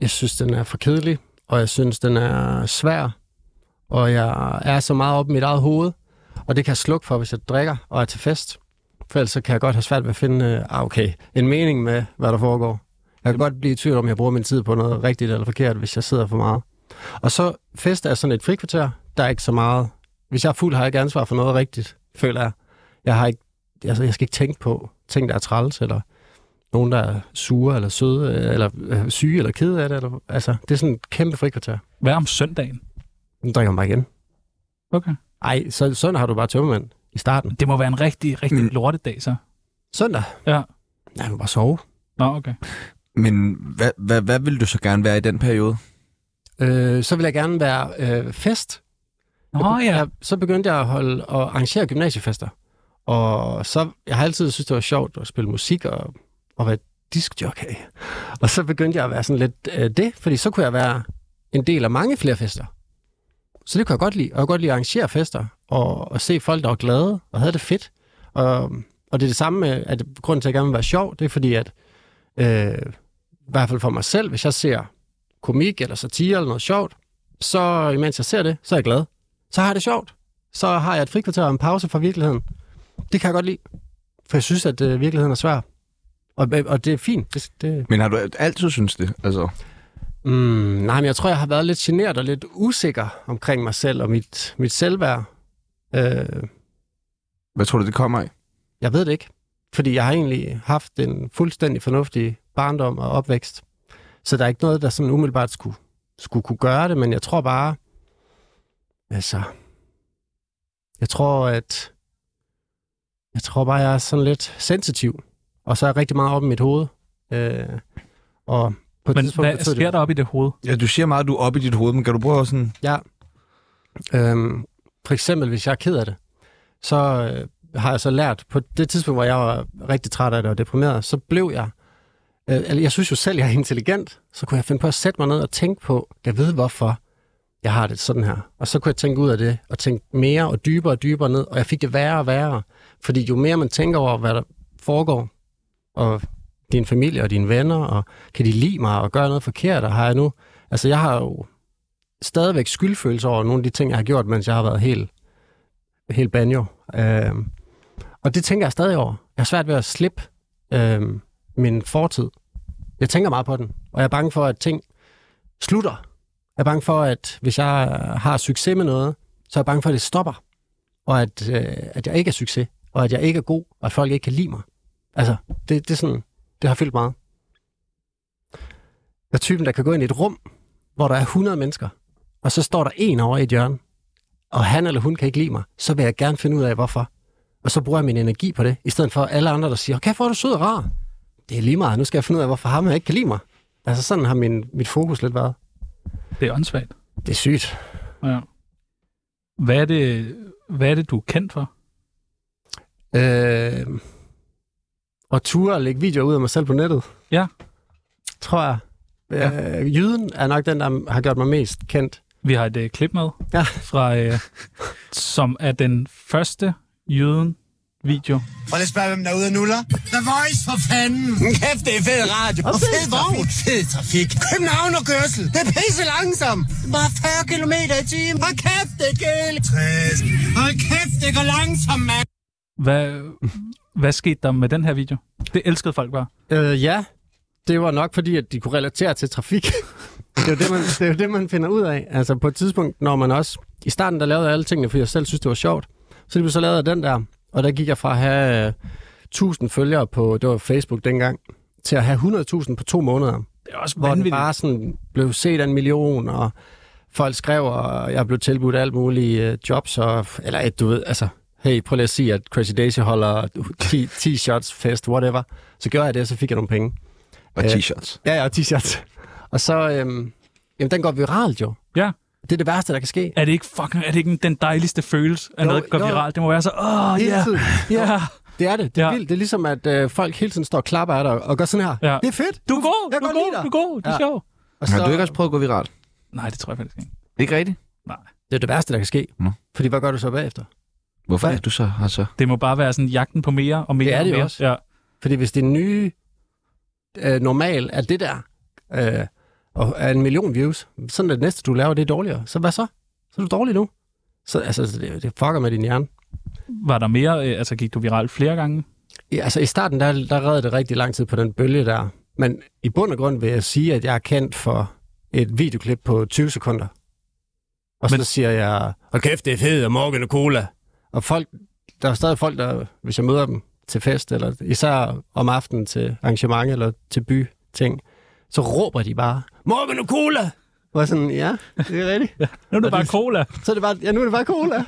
S5: jeg synes, den er for kedelig, og jeg synes, den er svær, og jeg er så meget oppe i mit eget hoved, og det kan jeg slukke for, hvis jeg drikker og er til fest. For ellers så kan jeg godt have svært ved at finde øh, ah, okay, en mening med, hvad der foregår. Jeg kan godt blive i tvivl om, jeg bruger min tid på noget rigtigt eller forkert, hvis jeg sidder for meget. Og så fest er sådan et frikvarter. Der er ikke så meget. Hvis jeg er fuld, har jeg ikke ansvar for noget rigtigt, føler jeg. Jeg, har ikke, altså, jeg skal ikke tænke på ting, der er træls, eller nogen, der er sure eller søde, øh, eller øh, syge eller kede af det. Eller, altså, det er sådan et kæmpe frikvarter.
S3: Hvad om søndagen?
S5: Nu drikker man bare igen.
S3: Okay.
S5: Ej, så, søndag har du bare tømmermand i starten.
S3: Det må være en rigtig, rigtig
S1: Mm.
S3: mm. lortedag, så.
S5: Søndag?
S3: Ja.
S5: Nej, man bare sove.
S3: Nå, okay.
S1: Men hvad, hvad, hvad ville du så gerne være i den periode?
S5: Øh, så vil jeg gerne være øh, fest.
S3: Nå, ja.
S5: Jeg, så begyndte jeg at holde og arrangere gymnasiefester. Og så, jeg har altid synes det var sjovt at spille musik og, og være diskjockey. Og så begyndte jeg at være sådan lidt øh, det, fordi så kunne jeg være en del af mange flere fester. Så det kunne jeg godt lide. Og jeg kunne godt lide at arrangere fester og, og se folk, der var glade og havde det fedt. Og, og det er det samme med, at grunden til, at jeg gerne vil være sjov, det er fordi, at øh, i hvert fald for mig selv, hvis jeg ser komik eller satire eller noget sjovt, så imens jeg ser det, så er jeg glad. Så har jeg det sjovt. Så har jeg et frikvarter og en pause fra virkeligheden. Det kan jeg godt lide. For jeg synes, at øh, virkeligheden er svær. Og, øh, og det er fint. Det, det...
S1: Men har du altid synes det? Altså,
S5: Mm, nej, men jeg tror, jeg har været lidt generet og lidt usikker omkring mig selv og mit, mit selvværd. Øh,
S1: hvad tror du, det kommer af?
S5: jeg ved det ikke. Fordi jeg har egentlig haft en fuldstændig fornuftig barndom og opvækst. Så der er ikke noget, der sådan umiddelbart skulle, skulle kunne gøre det, men jeg tror bare, altså, jeg tror, at jeg tror bare, jeg er sådan lidt sensitiv Og så er rigtig meget op i mit hoved. Øh, og på et
S3: Men
S5: tidspunkt
S3: hvad
S5: betød
S3: sker
S5: det,
S3: der op i det hoved?
S1: Ja, du siger meget, at du er oppe i dit hoved, men kan du prøve at sådan...
S5: Ja. Øhm, for eksempel, hvis jeg er ked af det, så øh, har jeg så lært, på det tidspunkt, hvor jeg var rigtig træt af det og deprimeret, så blev jeg, øh, eller jeg synes jo selv, jeg er intelligent, så kunne jeg finde på at sætte mig ned og tænke på, jeg ved hvorfor jeg har det sådan her. Og så kunne jeg tænke ud af det, og tænke mere og dybere og dybere ned, og jeg fik det værre og værre. Fordi jo mere man tænker over, hvad der foregår, og din familie og dine venner, og kan de lide mig og gøre noget forkert, og har jeg nu... Altså, jeg har jo stadigvæk skyldfølelse over nogle af de ting, jeg har gjort, mens jeg har været helt, helt banjo. Øhm, og det tænker jeg stadig over. Jeg har svært ved at slippe øhm, min fortid. Jeg tænker meget på den, og jeg er bange for, at ting slutter. Jeg er bange for, at hvis jeg har succes med noget, så er jeg bange for, at det stopper. Og at, øh, at jeg ikke er succes, og at jeg ikke er god, og at folk ikke kan lide mig. Altså, det, det, er sådan, det har fyldt meget. Jeg er typen, der kan gå ind i et rum, hvor der er 100 mennesker, og så står der en over i et hjørne, og han eller hun kan ikke lide mig, så vil jeg gerne finde ud af, hvorfor. Og så bruger jeg min energi på det, i stedet for alle andre, der siger, okay, hvor er du sød og rar. Det er lige meget, nu skal jeg finde ud af, hvorfor ham her ikke kan lide mig. Altså sådan har min, mit fokus lidt været.
S3: Det er åndssvagt.
S5: Det er sygt.
S3: Ja. Hvad er, det, hvad er det, du er kendt for?
S5: Øh, og ture at lægge videoer ud af mig selv på nettet.
S3: Ja.
S5: Tror jeg. Ja. Øh, jyden er nok den, der har gjort mig mest kendt.
S3: Vi har et øh, klip med,
S5: Ja.
S3: fra, øh, som er den første jøden video.
S7: Prøv lige at spørge, hvem der er ude og nuller. The Voice for fanden. Kæft, det er fed radio. Og, fed, vogn. Fed trafik. København og kørsel. Det er pisse langsomt. Bare 40 km i timen. Hold kæft, det gæld. 60. Hold kæft, det går langsomt, mand.
S3: Hvad, hvad skete der med den her video? Det elskede folk bare.
S5: Øh, ja, det var nok fordi, at de kunne relatere til trafik. [LAUGHS] det, er jo det, man, det er jo det, man finder ud af. Altså på et tidspunkt, når man også... I starten, der lavede jeg alle tingene, fordi jeg selv synes, det var sjovt. Så lige så lavede jeg den der, og der gik jeg fra at have øh, 1000 følgere på, det var Facebook dengang, til at have 100.000 på to måneder.
S3: Det er også
S5: Hvor den
S3: vanvittigt.
S5: bare sådan blev set af en million, og folk skrev, og jeg blev tilbudt alt mulige øh, jobs, og, eller et, du ved, altså, hey, prøv lige at sige, at Crazy Daisy holder [LAUGHS] 10 t-shirts fest, whatever. Så gjorde jeg det, og så fik jeg nogle penge.
S1: Og
S5: Øh,
S1: t-shirts.
S5: Ja, ja, og t-shirts. Og så, øhm, jamen, den går viralt jo.
S3: Ja.
S5: Det er det værste, der kan ske.
S3: Er det ikke fucking, er det ikke den dejligste følelse, at
S5: Jo,
S3: noget går
S5: jo.
S3: viralt? Det må være så, åh, oh,
S5: Hele
S3: ja,
S5: tiden.
S3: ja,
S5: Det er det. Det er
S3: Ja.
S5: ja. vildt. Det er ligesom, at øh, folk hele tiden står og klapper af dig og gør sådan her.
S3: Ja.
S5: Det er fedt.
S3: du er god,
S5: Jeg
S3: du er
S5: kan godt
S3: god,
S5: lide dig.
S3: du er god, du er
S5: Ja.
S3: sjov.
S5: Og
S1: Har du ikke også prøvet at gå viralt?
S3: Nej, det tror jeg faktisk ikke.
S1: Ikke rigtigt?
S5: Det er det værste, der kan ske.
S1: Nå.
S5: Fordi hvad gør du så bagefter?
S1: Hvorfor
S5: Hvad?
S1: er du så her så?
S3: Det må bare være sådan jagten på mere og mere
S5: Det er det
S3: og
S5: jo
S3: mere.
S5: også.
S3: Ja.
S5: Fordi hvis det nye øh, normal er det der, øh, og er en million views, sådan at det næste, du laver, det er dårligere. Så hvad så? Så er du dårlig nu. Så altså, det, det fucker med din hjerne.
S3: Var der mere, øh, altså gik du viralt flere gange?
S5: Ja, altså i starten, der, der redde det rigtig lang tid på den bølge der. Men i bund og grund vil jeg sige, at jeg er kendt for et videoklip på 20 sekunder. Og Men...
S3: Men-
S5: så siger jeg, og kæft, det er fedt, og morgen og cola. Og folk, der er stadig folk, der, hvis jeg møder dem til fest, eller især om aftenen til arrangement eller til by ting, så råber de bare, morgen og cola! Og jeg sådan, [LAUGHS] ja, det er rigtigt.
S3: Nu er det
S5: Og
S3: bare
S5: det-
S3: cola.
S5: Så er det bare, ja, nu er det bare [LAUGHS] cola.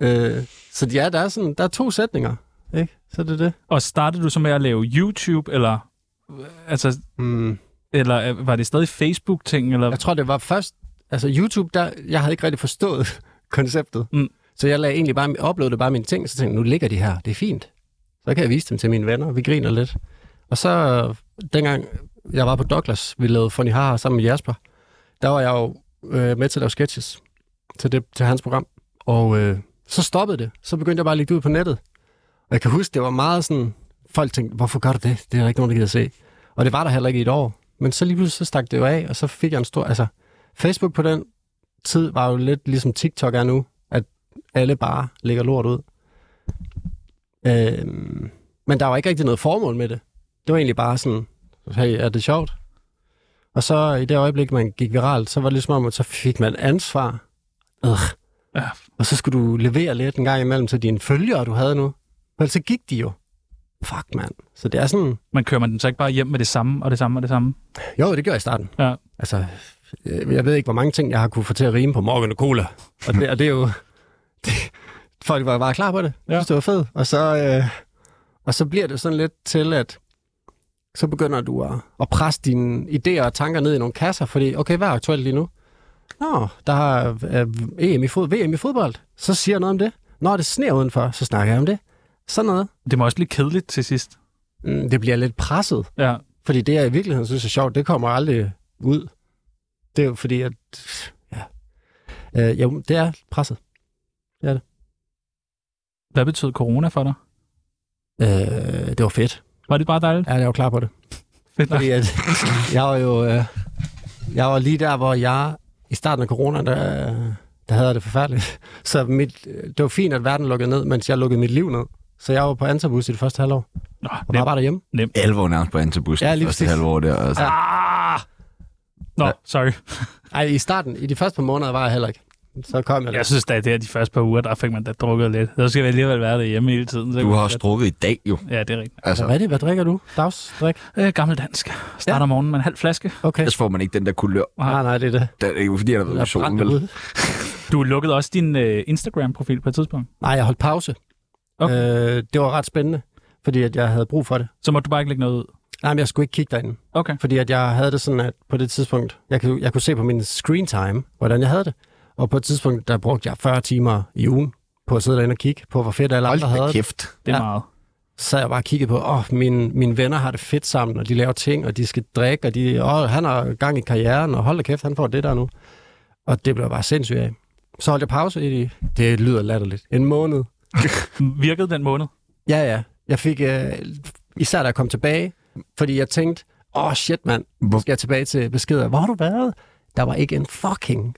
S5: øh, så ja, der er, sådan, der er to sætninger, ikke? Så er det det.
S3: Og startede du så med at lave YouTube, eller, øh, altså,
S5: Mm.
S3: eller øh, var det stadig Facebook-ting? Eller?
S5: Jeg tror, det var først... Altså, YouTube, der, jeg havde ikke rigtig forstået [LAUGHS] konceptet.
S3: Mm.
S5: Så jeg lagde egentlig bare, uploadede bare mine ting, så tænkte jeg, nu ligger de her, det er fint. Så kan jeg vise dem til mine venner, vi griner lidt. Og så, øh, dengang jeg var på Douglas, vi lavede Funny Haha sammen med Jasper, der var jeg jo øh, med til at lave sketches til, det, til hans program. Og øh, så stoppede det. Så begyndte jeg bare at lægge det ud på nettet. Og jeg kan huske, det var meget sådan, folk tænkte, hvorfor gør du det? Det er der ikke nogen, der gider se. Og det var der heller ikke i et år. Men så lige pludselig så stak det jo af, og så fik jeg en stor... Altså, Facebook på den tid var jo lidt ligesom TikTok er nu, at alle bare lægger lort ud. Øhm, men der var ikke rigtig noget formål med det. Det var egentlig bare sådan, hey, er det sjovt? Og så i det øjeblik, man gik viralt, så var det ligesom om, at så fik man ansvar. Øh.
S3: Ja.
S5: Og så skulle du levere lidt en gang imellem til dine følgere, du havde nu. Men så gik de jo. Fuck, mand. Så det er sådan,
S3: Man kører man den så ikke bare hjem med det samme, og det samme, og det samme?
S5: jo, det gjorde jeg i starten.
S3: Ja.
S5: Altså, øh, jeg ved ikke, hvor mange ting, jeg har kunne få til at rime på Morgan og Cola. Og det, [LAUGHS] og det er jo... Det, folk var bare klar på det.
S3: Ja.
S5: Ja. Synes, det var fedt. Og så, øh, Og så bliver det sådan lidt til, at så begynder du at, at presse dine idéer og tanker ned i nogle kasser, fordi, okay, hvad er aktuelt lige nu? Nå, der er øh, EM i fod, VM i fodbold. Så siger jeg noget om det. Når det sner udenfor, så snakker jeg om det. Sådan noget.
S3: Det må også blive kedeligt til sidst.
S5: Mm, Det bliver lidt presset,
S3: Ja.
S5: fordi det, jeg i virkeligheden synes er sjovt, det kommer aldrig ud. Det er jo fordi, at... Ja. Øh, jo, det er presset.
S3: Hvad betød corona for dig?
S5: Øh, det var fedt.
S3: Var det bare dejligt?
S5: Ja, jeg var klar på det.
S3: Fedt nok.
S5: Fordi at, jeg var jo øh, jeg var lige der, hvor jeg i starten af corona, der, øh, der havde jeg det forfærdeligt. [LAUGHS] Så mit, øh, det var fint, at verden lukkede ned, mens jeg lukkede mit liv ned. Så jeg var på Antabus i det første halvår,
S3: Nå,
S5: og
S3: nem.
S5: bare var derhjemme.
S1: Alvor nærmest på Antabus
S5: Ja,
S1: ja,
S5: lige
S1: første
S5: præcis.
S1: halvår der. Altså. Ja.
S3: Nå, sorry.
S5: Ej, i starten, i de første par måneder, var jeg heller ikke. Så kom jeg der.
S3: Jeg synes da, at det her de første par uger, der fik man da drukket lidt. Så skal vi alligevel være derhjemme hele tiden. Så
S1: Du har også drukket i dag jo.
S3: Ja, det er rigtigt.
S1: Altså,
S5: Hvad er det? Hvad drikker du? Dagsdrik?
S3: Øh, gammel dansk. Starter om morgenen med en halv flaske.
S5: Okay.
S1: ellers får man ikke den der kulør.
S5: Nej, nej, det er det.
S1: Det er jo fordi, han har været
S5: Jeg
S1: ude i
S5: er
S1: solen.
S5: brændt
S1: Vel?
S5: ud.
S3: Du lukkede også din øh, Instagram-profil på et tidspunkt.
S5: Nej, jeg holdt pause.
S3: Okay.
S5: Øh, det var ret spændende, fordi at jeg havde brug for det.
S3: Så må du bare ikke lægge noget ud.
S5: Nej, men jeg skulle ikke kigge derinde.
S3: Okay.
S5: Fordi at jeg havde det sådan, at på det tidspunkt, jeg kunne, jeg kunne se på min screen time, hvordan jeg havde det. Og på et tidspunkt, der brugte jeg 40 timer i ugen på at sidde derinde og kigge på, hvor fedt alle
S1: Hold
S5: andre havde
S1: da
S5: det.
S1: kæft.
S3: Det er
S5: Ja.
S3: ja. meget.
S5: Så sad jeg bare og kiggede på, åh, oh, mine, mine venner har det fedt sammen, og de laver ting, og de skal drikke, og de, åh, oh, han har gang i karrieren, og hold da kæft, han får det der nu. Og det blev jeg bare sindssygt af. Så holdt jeg pause i det. Det lyder latterligt. En måned.
S3: Virkede den måned?
S5: Ja, ja. Jeg fik, øh, især da jeg kom tilbage, fordi jeg tænkte, åh oh, shit mand, nu skal jeg tilbage til beskeder. Hvor har du været? Der var ikke en fucking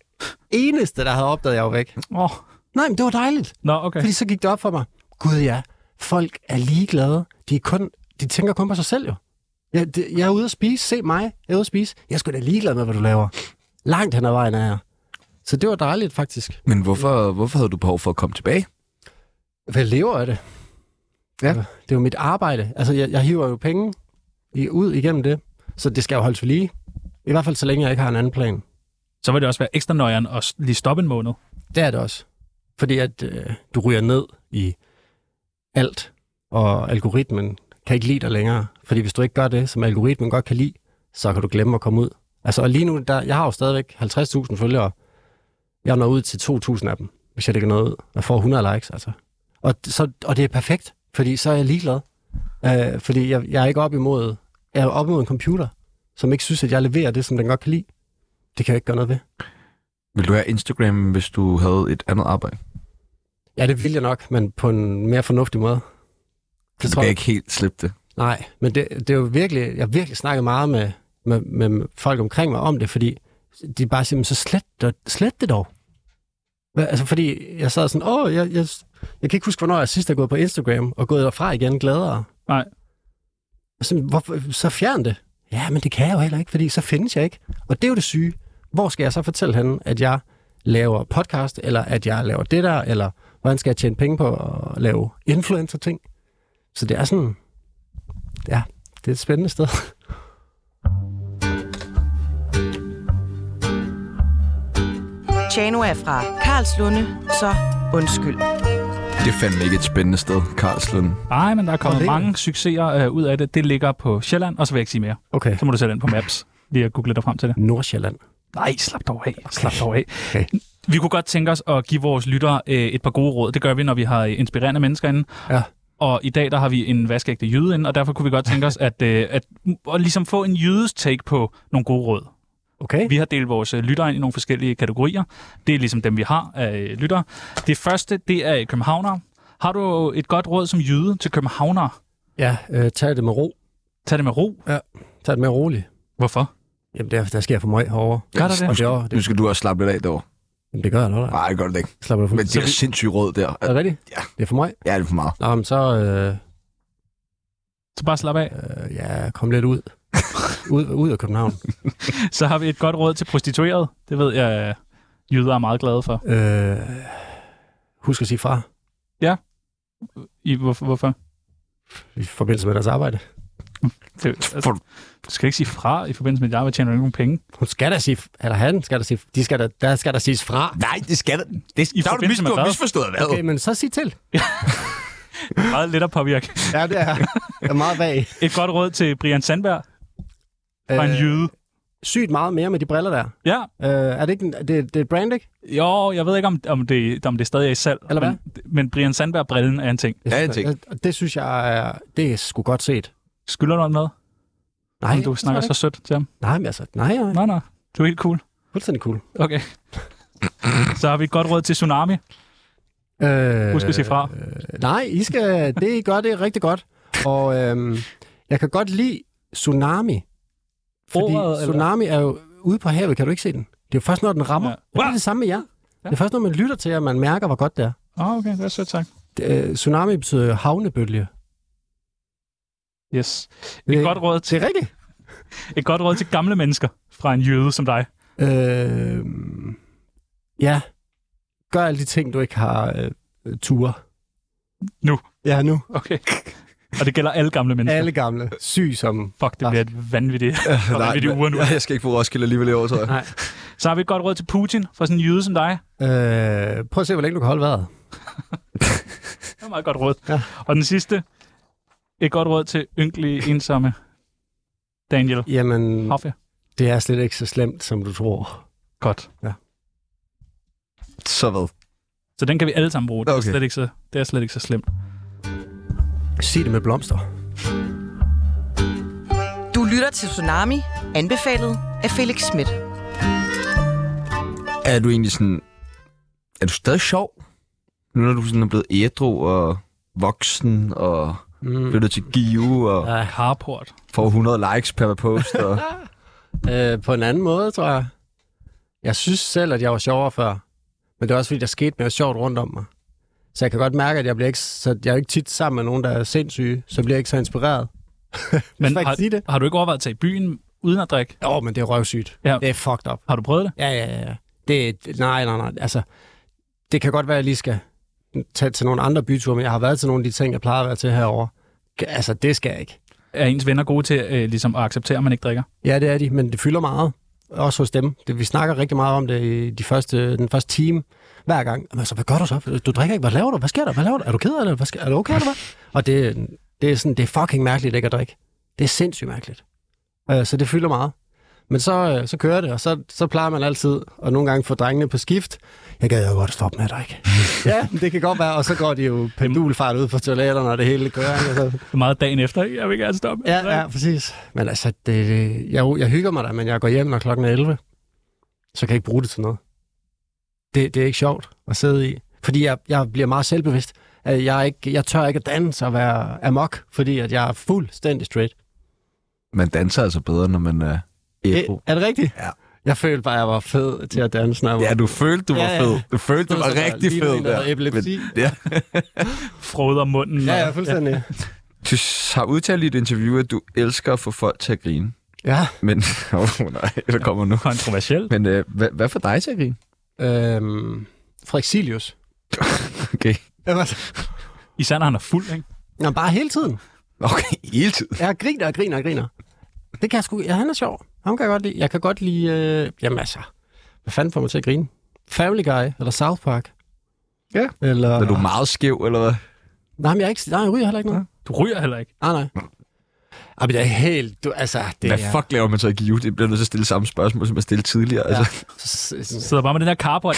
S5: eneste, der havde opdaget, at jeg var væk.
S3: Åh, oh.
S5: Nej, men det var dejligt,
S3: nå, okay.
S5: fordi så gik det op for mig. Gud ja, folk er ligeglade. De, er kun, de tænker kun på sig selv jo. Jeg, det, jeg er ude at spise, se mig, jeg er ude at spise. Jeg er sgu da ligeglad med, hvad du laver. Langt hen ad vejen er jeg. Så det var dejligt faktisk.
S1: Men hvorfor, hvorfor havde du behov for at komme tilbage?
S5: Hvad lever af det? Altså,
S1: Ja.
S5: Det er jo mit arbejde. Altså, jeg, jeg hiver jo penge i, ud igennem det, så det skal jo holdes ved lige. I hvert fald så længe jeg ikke har en anden plan.
S3: Så vil det også være ekstra nøjeren at s- lige stoppe en måned.
S5: Det er det også. Fordi at øh, du ryger ned i alt, og algoritmen kan ikke lide dig længere. Fordi hvis du ikke gør det, som algoritmen godt kan lide, så kan du glemme at komme ud. Altså, og lige nu, der, jeg har jo stadigvæk 50.000 følgere. Jeg når ud til 2.000 af dem, hvis jeg lægger noget ud. Jeg får 100 likes, altså. Og, d- så, og det er perfekt, fordi så er jeg ligeglad. Øh, fordi jeg, jeg er ikke op imod, jeg er op imod en computer, som ikke synes, at jeg leverer det, som den godt kan lide. Det kan jeg ikke gøre noget ved.
S1: Vil du have Instagram, hvis du havde et andet arbejde?
S5: Ja, det vil jeg nok, men på en mere fornuftig måde.
S1: Det tror jeg ikke helt slippe det.
S5: Nej, men det, det er jo virkelig, jeg har virkelig snakket meget med, med, med folk omkring mig om det, fordi de bare siger, "Men så slet, det- slet det dog. Hva- Altså, fordi jeg sad sådan, åh, jeg, jeg, jeg kan ikke huske, hvornår jeg sidst har gået på Instagram og gået derfra igen gladere.
S3: Nej.
S5: Så, hvorfor, så fjern det. Ja, men det kan jeg jo heller ikke, fordi så findes jeg ikke. Og det er jo det syge. Hvor skal jeg så fortælle hende, at jeg laver podcast, eller at jeg laver det der, eller hvordan skal jeg tjene penge på at lave influencer-ting? Så det er sådan, ja, det er et spændende sted. [LAUGHS]
S4: Tjano er fra Karlslunde, så undskyld.
S1: Det fandt mig ikke et spændende sted, Karlslund.
S3: Nej, men der er kommet
S5: ligger
S3: mange succeser øh, ud af det. Det ligger på Sjælland, og så vil jeg ikke sige mere.
S5: Okay.
S3: Så må du sætte ind på Maps. Lige at google dig frem til det.
S5: Nordsjælland.
S3: Nej, slap dog af. Slap dog af.
S5: Okay.
S3: Vi kunne godt tænke os at give vores lyttere øh, et par gode råd. Det gør vi, når vi har øh, inspirerende mennesker inde.
S5: Ja.
S3: Og i dag der har vi en vaskeægte jyde inde, og derfor kunne vi godt tænke os at, øh, at, at ligesom få en jydes take på nogle gode råd.
S5: Okay.
S3: [LAUGHS] Vi har delt vores øh, lyttere ind i nogle forskellige kategorier. Det er ligesom dem, vi har af øh, lyttere. Det første, det er øh, københavnere. Har du et godt råd som jyde til københavnere?
S5: Ja, øh, tag det med ro.
S3: Tag det med ro.
S5: Tag det med roligt.
S3: Hvorfor?
S5: Jamen, der, der sker for meget herovre.
S3: Gør der
S5: Og
S3: det?
S5: det, er,
S1: Nu
S5: det,
S1: skal du også slappe lidt af derovre.
S5: jamen, det gør jeg noget. der.
S1: Nej, det gør det ikke.
S5: Slapper du
S1: Men
S5: fuldt.
S1: det er sindssygt råd der.
S5: Er det rigtigt?
S1: Ja.
S5: Det er for mig.
S1: Ja, det er for meget.
S5: Nå, men så øh,
S3: Så bare slap af.
S5: øh, ja, kom lidt ud. ud. Ud af København.
S3: Så har vi et godt råd til prostitueret. Det ved jeg, øh, jyder er meget glade for.
S5: Øh, husk at sige fra
S3: I, hvorfor? hvorfor?
S5: i forbindelse med deres arbejde.
S3: Det,
S5: [LAUGHS]
S3: altså, du skal ikke sige fra i forbindelse med, at jeg arbejde tjener nogen penge.
S5: Hun skal da sige, eller han skal da sige, de skal da, der skal da siges fra.
S1: Nej, det skal det. det
S3: I
S1: der har du
S3: forbindelse
S1: mis-
S3: med
S1: du har
S3: hvad?
S1: misforstået hvad?
S5: Okay, men så sig til.
S3: Meget let at
S5: [LAUGHS]
S3: påvirke.
S5: Ja, det er, jeg er meget vag.
S3: Et godt råd til Brian Sandberg fra en jyde.
S5: Øh, sygt meget mere med de briller der.
S3: Ja,
S5: Øh, er det ikke en, det, det er et brand, ikke?
S3: jo, jeg ved ikke, om, om, det, om det stadig er i salg.
S5: Eller hvad?
S3: Men, men Brian Sandberg-brillen er en ting.
S1: Ja, det er en ting.
S5: Øh, Det, det synes jeg er, det er sgu godt set.
S3: Skylder du ham noget?
S5: Nej,
S3: om du snakker så sødt til ham.
S5: Nej, men altså, nej, nej, nej.
S3: Nej, nej. Du er helt cool.
S5: Fuldstændig cool.
S3: Okay. [LAUGHS] Så har vi et godt råd til Tsunami.
S5: Øh,
S3: Husk at sige fra.
S5: Øh, nej, I skal, det I gør, det er rigtig godt. Og øhm, jeg kan godt lide Tsunami. Fordi
S3: Ordet, eller?
S5: Tsunami er jo ude på havet, kan du ikke se den? Det er jo først, når den rammer.
S3: Ja.
S5: Ja. Det er det samme med jer. Det er først, når man lytter til, at man mærker, hvor godt det er.
S3: Åh, oh, okay. Det er sødt, tak.
S5: Det, øh, tsunami betyder jo havnebølge.
S3: Yes.
S5: Det
S3: Et
S5: er-
S3: godt, råd
S5: Det
S3: til,
S5: er rigtigt.
S3: et godt råd til gamle mennesker fra en jøde som dig.
S5: Øh, ja. Gør alle de ting, du ikke har øh, ture.
S3: Nu.
S5: Ja, nu.
S3: Okay. Og det gælder alle gamle mennesker.
S5: Alle gamle. Syg som...
S3: Fuck, det bliver et vanvittigt, vanvittigt uger nu.
S1: men- jeg skal ikke på Roskilde alligevel i år, tror jeg.
S5: Nej.
S3: Så har vi et godt råd til Putin fra sådan en jøde som dig.
S5: Øh, prøv at se, hvor længe du kan holde vejret.
S3: Det var meget godt råd.
S5: Ja.
S3: Og den sidste. Et godt råd til ynkelige, ensomme Daniel
S5: Jamen,
S3: Hoffe.
S5: det er slet ikke så slemt, som du tror.
S3: Godt.
S1: Så hvad?
S3: Så den kan vi alle sammen bruge. Det, er,
S1: Okay.
S3: slet ikke så, det er slet ikke så slemt.
S5: Sig det med blomster.
S4: Du lytter til Tsunami, anbefalet af Felix Schmidt.
S1: Er du egentlig sådan... Er du stadig sjov? Nu når du sådan er blevet ædru og voksen og
S5: Mm.
S1: flyttet til Give og
S3: Ja. Harport.
S1: får 100 likes per post. Og...
S5: Øh, på en anden måde, tror jeg. Jeg synes selv, at jeg var sjovere før. Men det er også, fordi der skete noget sjovt rundt om mig. Så jeg kan godt mærke, at jeg, bliver ikke, så jeg er ikke tit sammen med nogen, der er sindssyge. Så bliver jeg ikke så inspireret. [LAUGHS]
S3: Men
S5: jeg ikke sige det?
S3: har, har du ikke overvejet at tage i byen uden at drikke?
S5: Åh, oh, men det er røvsygt.
S3: Ja.
S5: Det er fucked up.
S3: Har du prøvet det?
S5: Ja, ja, ja. Det, det, nej, nej, nej. Altså, det kan godt være, at jeg lige skal tage til nogle andre byture, men jeg har været til nogle af de ting, jeg plejer at være til herovre. Altså, det skal jeg ikke.
S3: Er ens venner gode til øh, ligesom at acceptere, at man ikke drikker?
S5: Ja, det er de, men det fylder meget. Også hos dem. Det, vi snakker rigtig meget om det i de første, den første time hver gang. Men altså, hvad gør du så? Du drikker ikke. Hvad laver du? Hvad sker der? Hvad laver du? Er du ked af det? Hvad sker, er du okay eller hvad? Og det, det, er sådan, det er fucking mærkeligt ikke at drikke. Det er sindssygt mærkeligt. Øh, så det fylder meget. Men så, øh, så kører det, og så, så plejer man altid, og nogle gange få drengene på skift. Jeg gad jo godt stoppe med at drikke. ja, det kan godt være, og så går de jo pendulfart ud på toiletterne, og det hele kører. ikke? Altså, Og så,
S3: Det er meget dagen efter. ikke? Jeg vil gerne stoppe. med at
S5: Ja,
S3: drikke.
S5: ja, præcis. Men altså, det, det- jeg, jeg hygger mig da, men jeg går hjem, når klokken er 11. Så kan jeg ikke bruge det til noget. Det, det er ikke sjovt at sidde i. Fordi jeg, jeg bliver meget selvbevidst. at Jeg, er ikke, jeg tør ikke at danse og være amok, fordi at jeg er fuldstændig straight.
S1: Man danser altså bedre, når man er ædru.
S5: Er det rigtigt?
S1: Ja.
S5: Jeg følte bare, at jeg var fed til at danse, når jeg var
S1: Ja, du følte, du var
S5: Ja, ja.
S1: fed. Du følte, du
S5: Så
S1: var
S5: der
S1: rigtig
S5: lignede
S1: fed
S5: en, der
S1: der.
S5: havde epilepsi.
S1: ja.
S3: Froder munden.
S5: Ja,
S3: og-
S5: ja, fuldstændig.
S1: Du har udtalt i et interview, at du elsker at få folk til at grine.
S5: Ja.
S1: Men, [LAUGHS] oh, nej, der kommer nu.
S3: Kontroversielt.
S1: Men øh, hvad, hvad får dig til at grine?
S5: ja. Øhm, Frexilius.
S1: [LAUGHS] Okay.
S5: Jeg var-
S3: Især når han er fuld, ikke?
S5: Nå, bare hele tiden.
S1: Okay, hele tiden.
S5: Jeg griner og griner og griner. Det kan jeg sgu... Ja, han er sjov. Ham kan jeg godt lide. Jeg kan godt lide... Øh, jamen altså, hvad fanden får mig til at grine? Family Guy eller South Park.
S1: Ja.
S5: Eller...
S1: Er du meget skæv, eller hvad?
S5: Nej, men jeg, er ikke, nej, jeg ryger heller ikke noget.
S3: Du ryger heller ikke.
S5: Nej, nej. Ej, men det er helt... Du, altså, det
S1: Hvad
S5: er...
S1: fuck laver man så i Give? Det bliver nødt til at stille samme spørgsmål, som jeg stillede tidligere. Ja. Altså,
S5: fuck?
S3: Sidder bare med den her
S5: [LAUGHS]
S3: carport.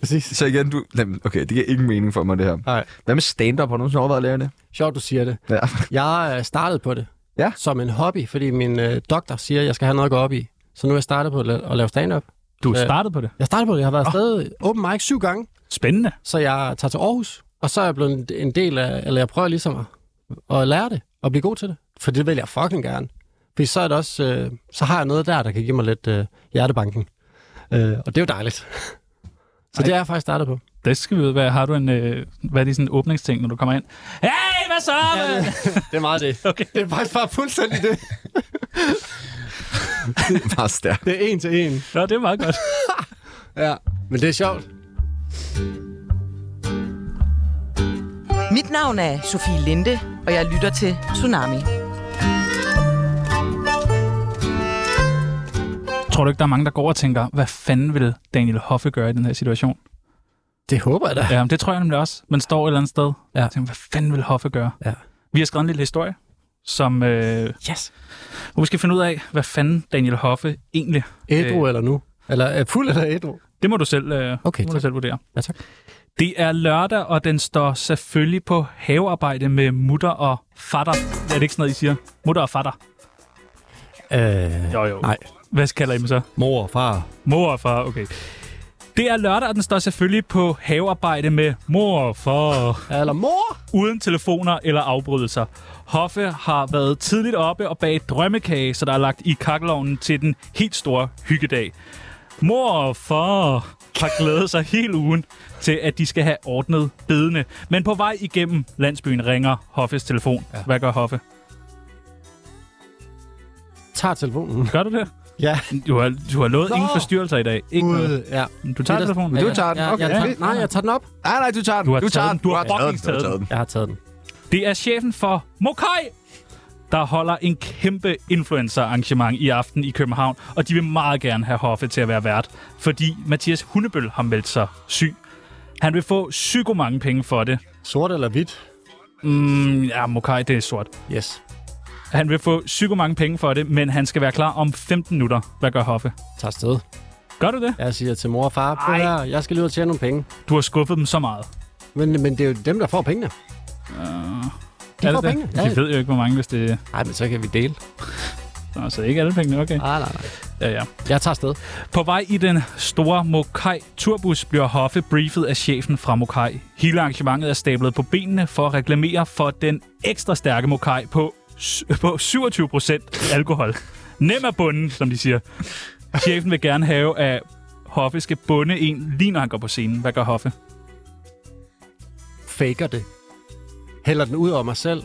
S5: Præcis.
S1: [LAUGHS] så igen, du... Jamen, Okay, det giver ingen mening for mig, det her.
S5: Nej.
S1: Hvad med stand-up? Har du nogensinde overvejet at lære det?
S5: Sjovt, du siger det.
S1: Ja.
S5: Jeg øh, startede på det
S1: Ja.
S5: som en hobby, fordi min øh, doktor siger, at jeg skal have noget at gå op i. Så nu er jeg startet på at la- at lave stand-up.
S3: Du
S5: Ja.
S3: startede på det.
S5: Jeg startede på det. Jeg har været afsted open mic syv gange.
S3: Spændende.
S5: Så jeg tager til Aarhus, og så er jeg blevet en- en del af, eller jeg prøver ligesom at, at lære det, og blive god til det. For det vil jeg fucking gerne. Fordi så er det også, øh, så har jeg noget der, der kan give mig lidt øh, hjertebanken. Øh, og det er jo dejligt. så det er jeg faktisk startet på.
S3: Det skal vi vide. Hvad har du en... Øh, hvad er de sådan åbningsting, når du kommer ind? Hey, hvad så? mand?
S5: [LAUGHS] Det er meget det.
S3: Okay.
S5: Det er faktisk bare fuldstændig det.
S1: [LAUGHS] Meget stærkt.
S5: Det er en til en.
S3: Nå, det er meget godt.
S5: Ja. Men det er sjovt.
S4: Mit navn er Sofie Linde, og jeg lytter til Tsunami.
S3: Tror du ikke, der er mange, der går og tænker, hvad fanden vil Daniel Hoffe gøre i den her situation?
S5: Det håber jeg da.
S3: Ja, men det tror jeg nemlig også. Man står et eller andet sted
S5: Ja.
S3: ja. og tænker, hvad fanden vil Hoffe gøre?
S5: Ja.
S3: Vi har skrevet en lille historie, som, øh,
S5: Yes.
S3: hvor vi skal finde ud af, hvad fanden Daniel Hoffe egentlig...
S5: Ædru eller nu? Eller er fuld eller ædru?
S3: Det må du selv, øh,
S5: Okay,
S3: okay, må du
S5: tak.
S3: selv vurdere.
S5: Ja, tak.
S3: Det er lørdag, og den står selvfølgelig på havearbejde med mutter og fatter. Er det ikke sådan noget, I siger? Mutter og fatter.
S5: Øh,
S3: Jo, jo.
S5: nej.
S3: Hvad kalder I dem så?
S5: Mor, far.
S3: Mor og far, okay. Det er lørdag, og den står selvfølgelig på havearbejde med mor og far.
S5: Eller mor!
S3: uden telefoner eller afbrydelser. Hoffe har været tidligt oppe og bag drømmekage, så der er lagt i kakkelovnen til den helt store hyggedag. Mor og far har glædet sig hele ugen til, at de skal have ordnet bedene. Men på vej igennem landsbyen ringer Hoffes telefon. Ja. Hvad gør Hoffe?
S5: Tager telefonen.
S3: Gør du det?
S5: Ja.
S3: Du har, du har lovet
S5: Nå.
S3: ingen forstyrrelser i dag. Ikke noget.
S5: Ude. Ja.
S3: Du tager telefonen.
S1: Men du tager den.
S5: Ja,
S1: Okay.
S5: jeg tager, nej, jeg tager den op.
S1: Nej, nej, du tager den.
S3: Du har
S1: du
S3: taget
S1: tager
S3: den. Du har
S1: taget
S3: fucking
S1: den. Du har
S3: taget den.
S5: Jeg har taget den.
S3: Det er chefen for Mokai, der holder en kæmpe influencer-arrangement i aften i København, og de vil meget gerne have Hoffe til at være vært, fordi Mathias Hundebøl har meldt sig syg. Han vil få psyko mange penge for det.
S5: Sort eller hvidt?
S3: Mm, ja, Mokai, det er sort.
S5: Yes.
S3: Han vil få psyko mange penge for det, men han skal være klar om 15 minutter. Hvad gør Hoffe?
S5: Tager afsted.
S3: Gør du det?
S5: Jeg siger til mor og far, prøv
S3: Ej.
S5: her, jeg skal lige ud og tjene nogle penge.
S3: Du har skuffet dem så meget.
S5: Men, men det er jo dem, der får pengene. De
S3: Er
S5: får
S3: det det?
S5: pengene. Ja,
S3: De ved jo ikke, hvor mange, hvis det er...
S5: Nej, men så kan vi dele.
S3: Altså, ikke alle pengene, okay.
S5: Nej, nej, nej.
S3: Ja, ja.
S5: Jeg tager afsted.
S3: På vej i den store Mokai turbus bliver Hoffe briefet af chefen fra Mokai. Hele arrangementet er stablet på benene for at reklamere for den ekstra stærke Mokai på, s- på 27% alkohol. Nem er bunden, som de siger. Chefen vil gerne have, at Hoffe skal bunde en, lige når han går på scenen. Hvad gør Hoffe?
S5: Faker det. Hælder den ud over mig selv.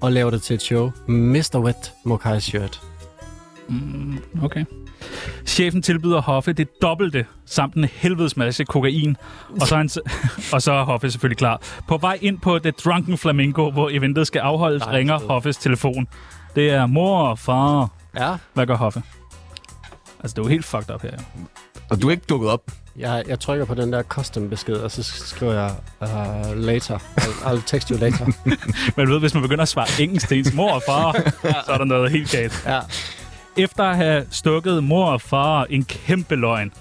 S5: Og laver det til et show. Mr. Wet Mokai Shirt.
S3: Okay. Chefen tilbyder Hoffe det dobbelte, samt en helvedes masse kokain. Og så, er han, s- [LAUGHS] og så er Hoffe selvfølgelig klar. På vej ind på The Drunken Flamingo, hvor eventet skal afholdes,
S5: Nej,
S3: ringer
S5: sted.
S3: Hoffes telefon. Det er mor og far.
S5: Ja.
S3: Hvad gør Hoffe? Altså, det er jo helt fucked up her. jo.
S1: Og du er ikke dukket op.
S5: Jeg, jeg trykker på den der custom besked, og så sk- skriver jeg uh, later. I'll, I'll text you [LAUGHS] later.
S3: Men du ved, hvis man begynder at svare engelsk til ens mor og
S5: [LAUGHS]
S3: far, så er der noget helt galt.
S5: ja.
S3: Efter at have stukket mor og far en kæmpe løgn,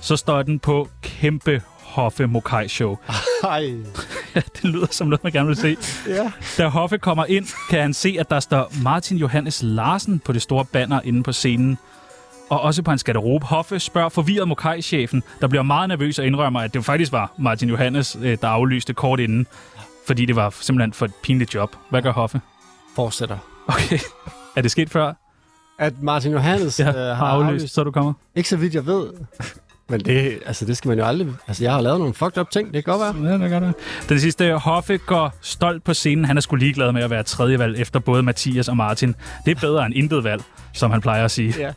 S3: så står den på kæmpe Hoffe Mokai Show.
S5: Hej.
S3: [LAUGHS] Det lyder som noget, man gerne vil se.
S5: Ja.
S3: Da Hoffe kommer ind, kan han se, at der står Martin Johannes Larsen på det store banner inde på scenen. Og også på hans garderobe. Hoffe spørger forvirret Mokai-chefen, der bliver meget nervøs og indrømmer, at det faktisk var Martin Johannes, øh, der aflyste kort inden. Fordi det var simpelthen for et pinligt job. Hvad gør Hoffe?
S5: Fortsætter.
S3: Okay. Er det sket før?
S5: At Martin Johannes
S3: Jeg
S5: ja,
S3: Øh, har, har aflyst, aflyst, så er du kommer.
S5: Ikke så vidt jeg ved. Men det, altså, det skal man jo aldrig... Altså, jeg har lavet nogle fucked up ting, det kan godt være.
S3: Ja, det gør det. Den sidste, Hoffe går stolt på scenen. Han er sgu ligeglad med at være tredje valg efter både Mathias og Martin. Det er bedre end intet valg, som han plejer at sige.
S5: Ja.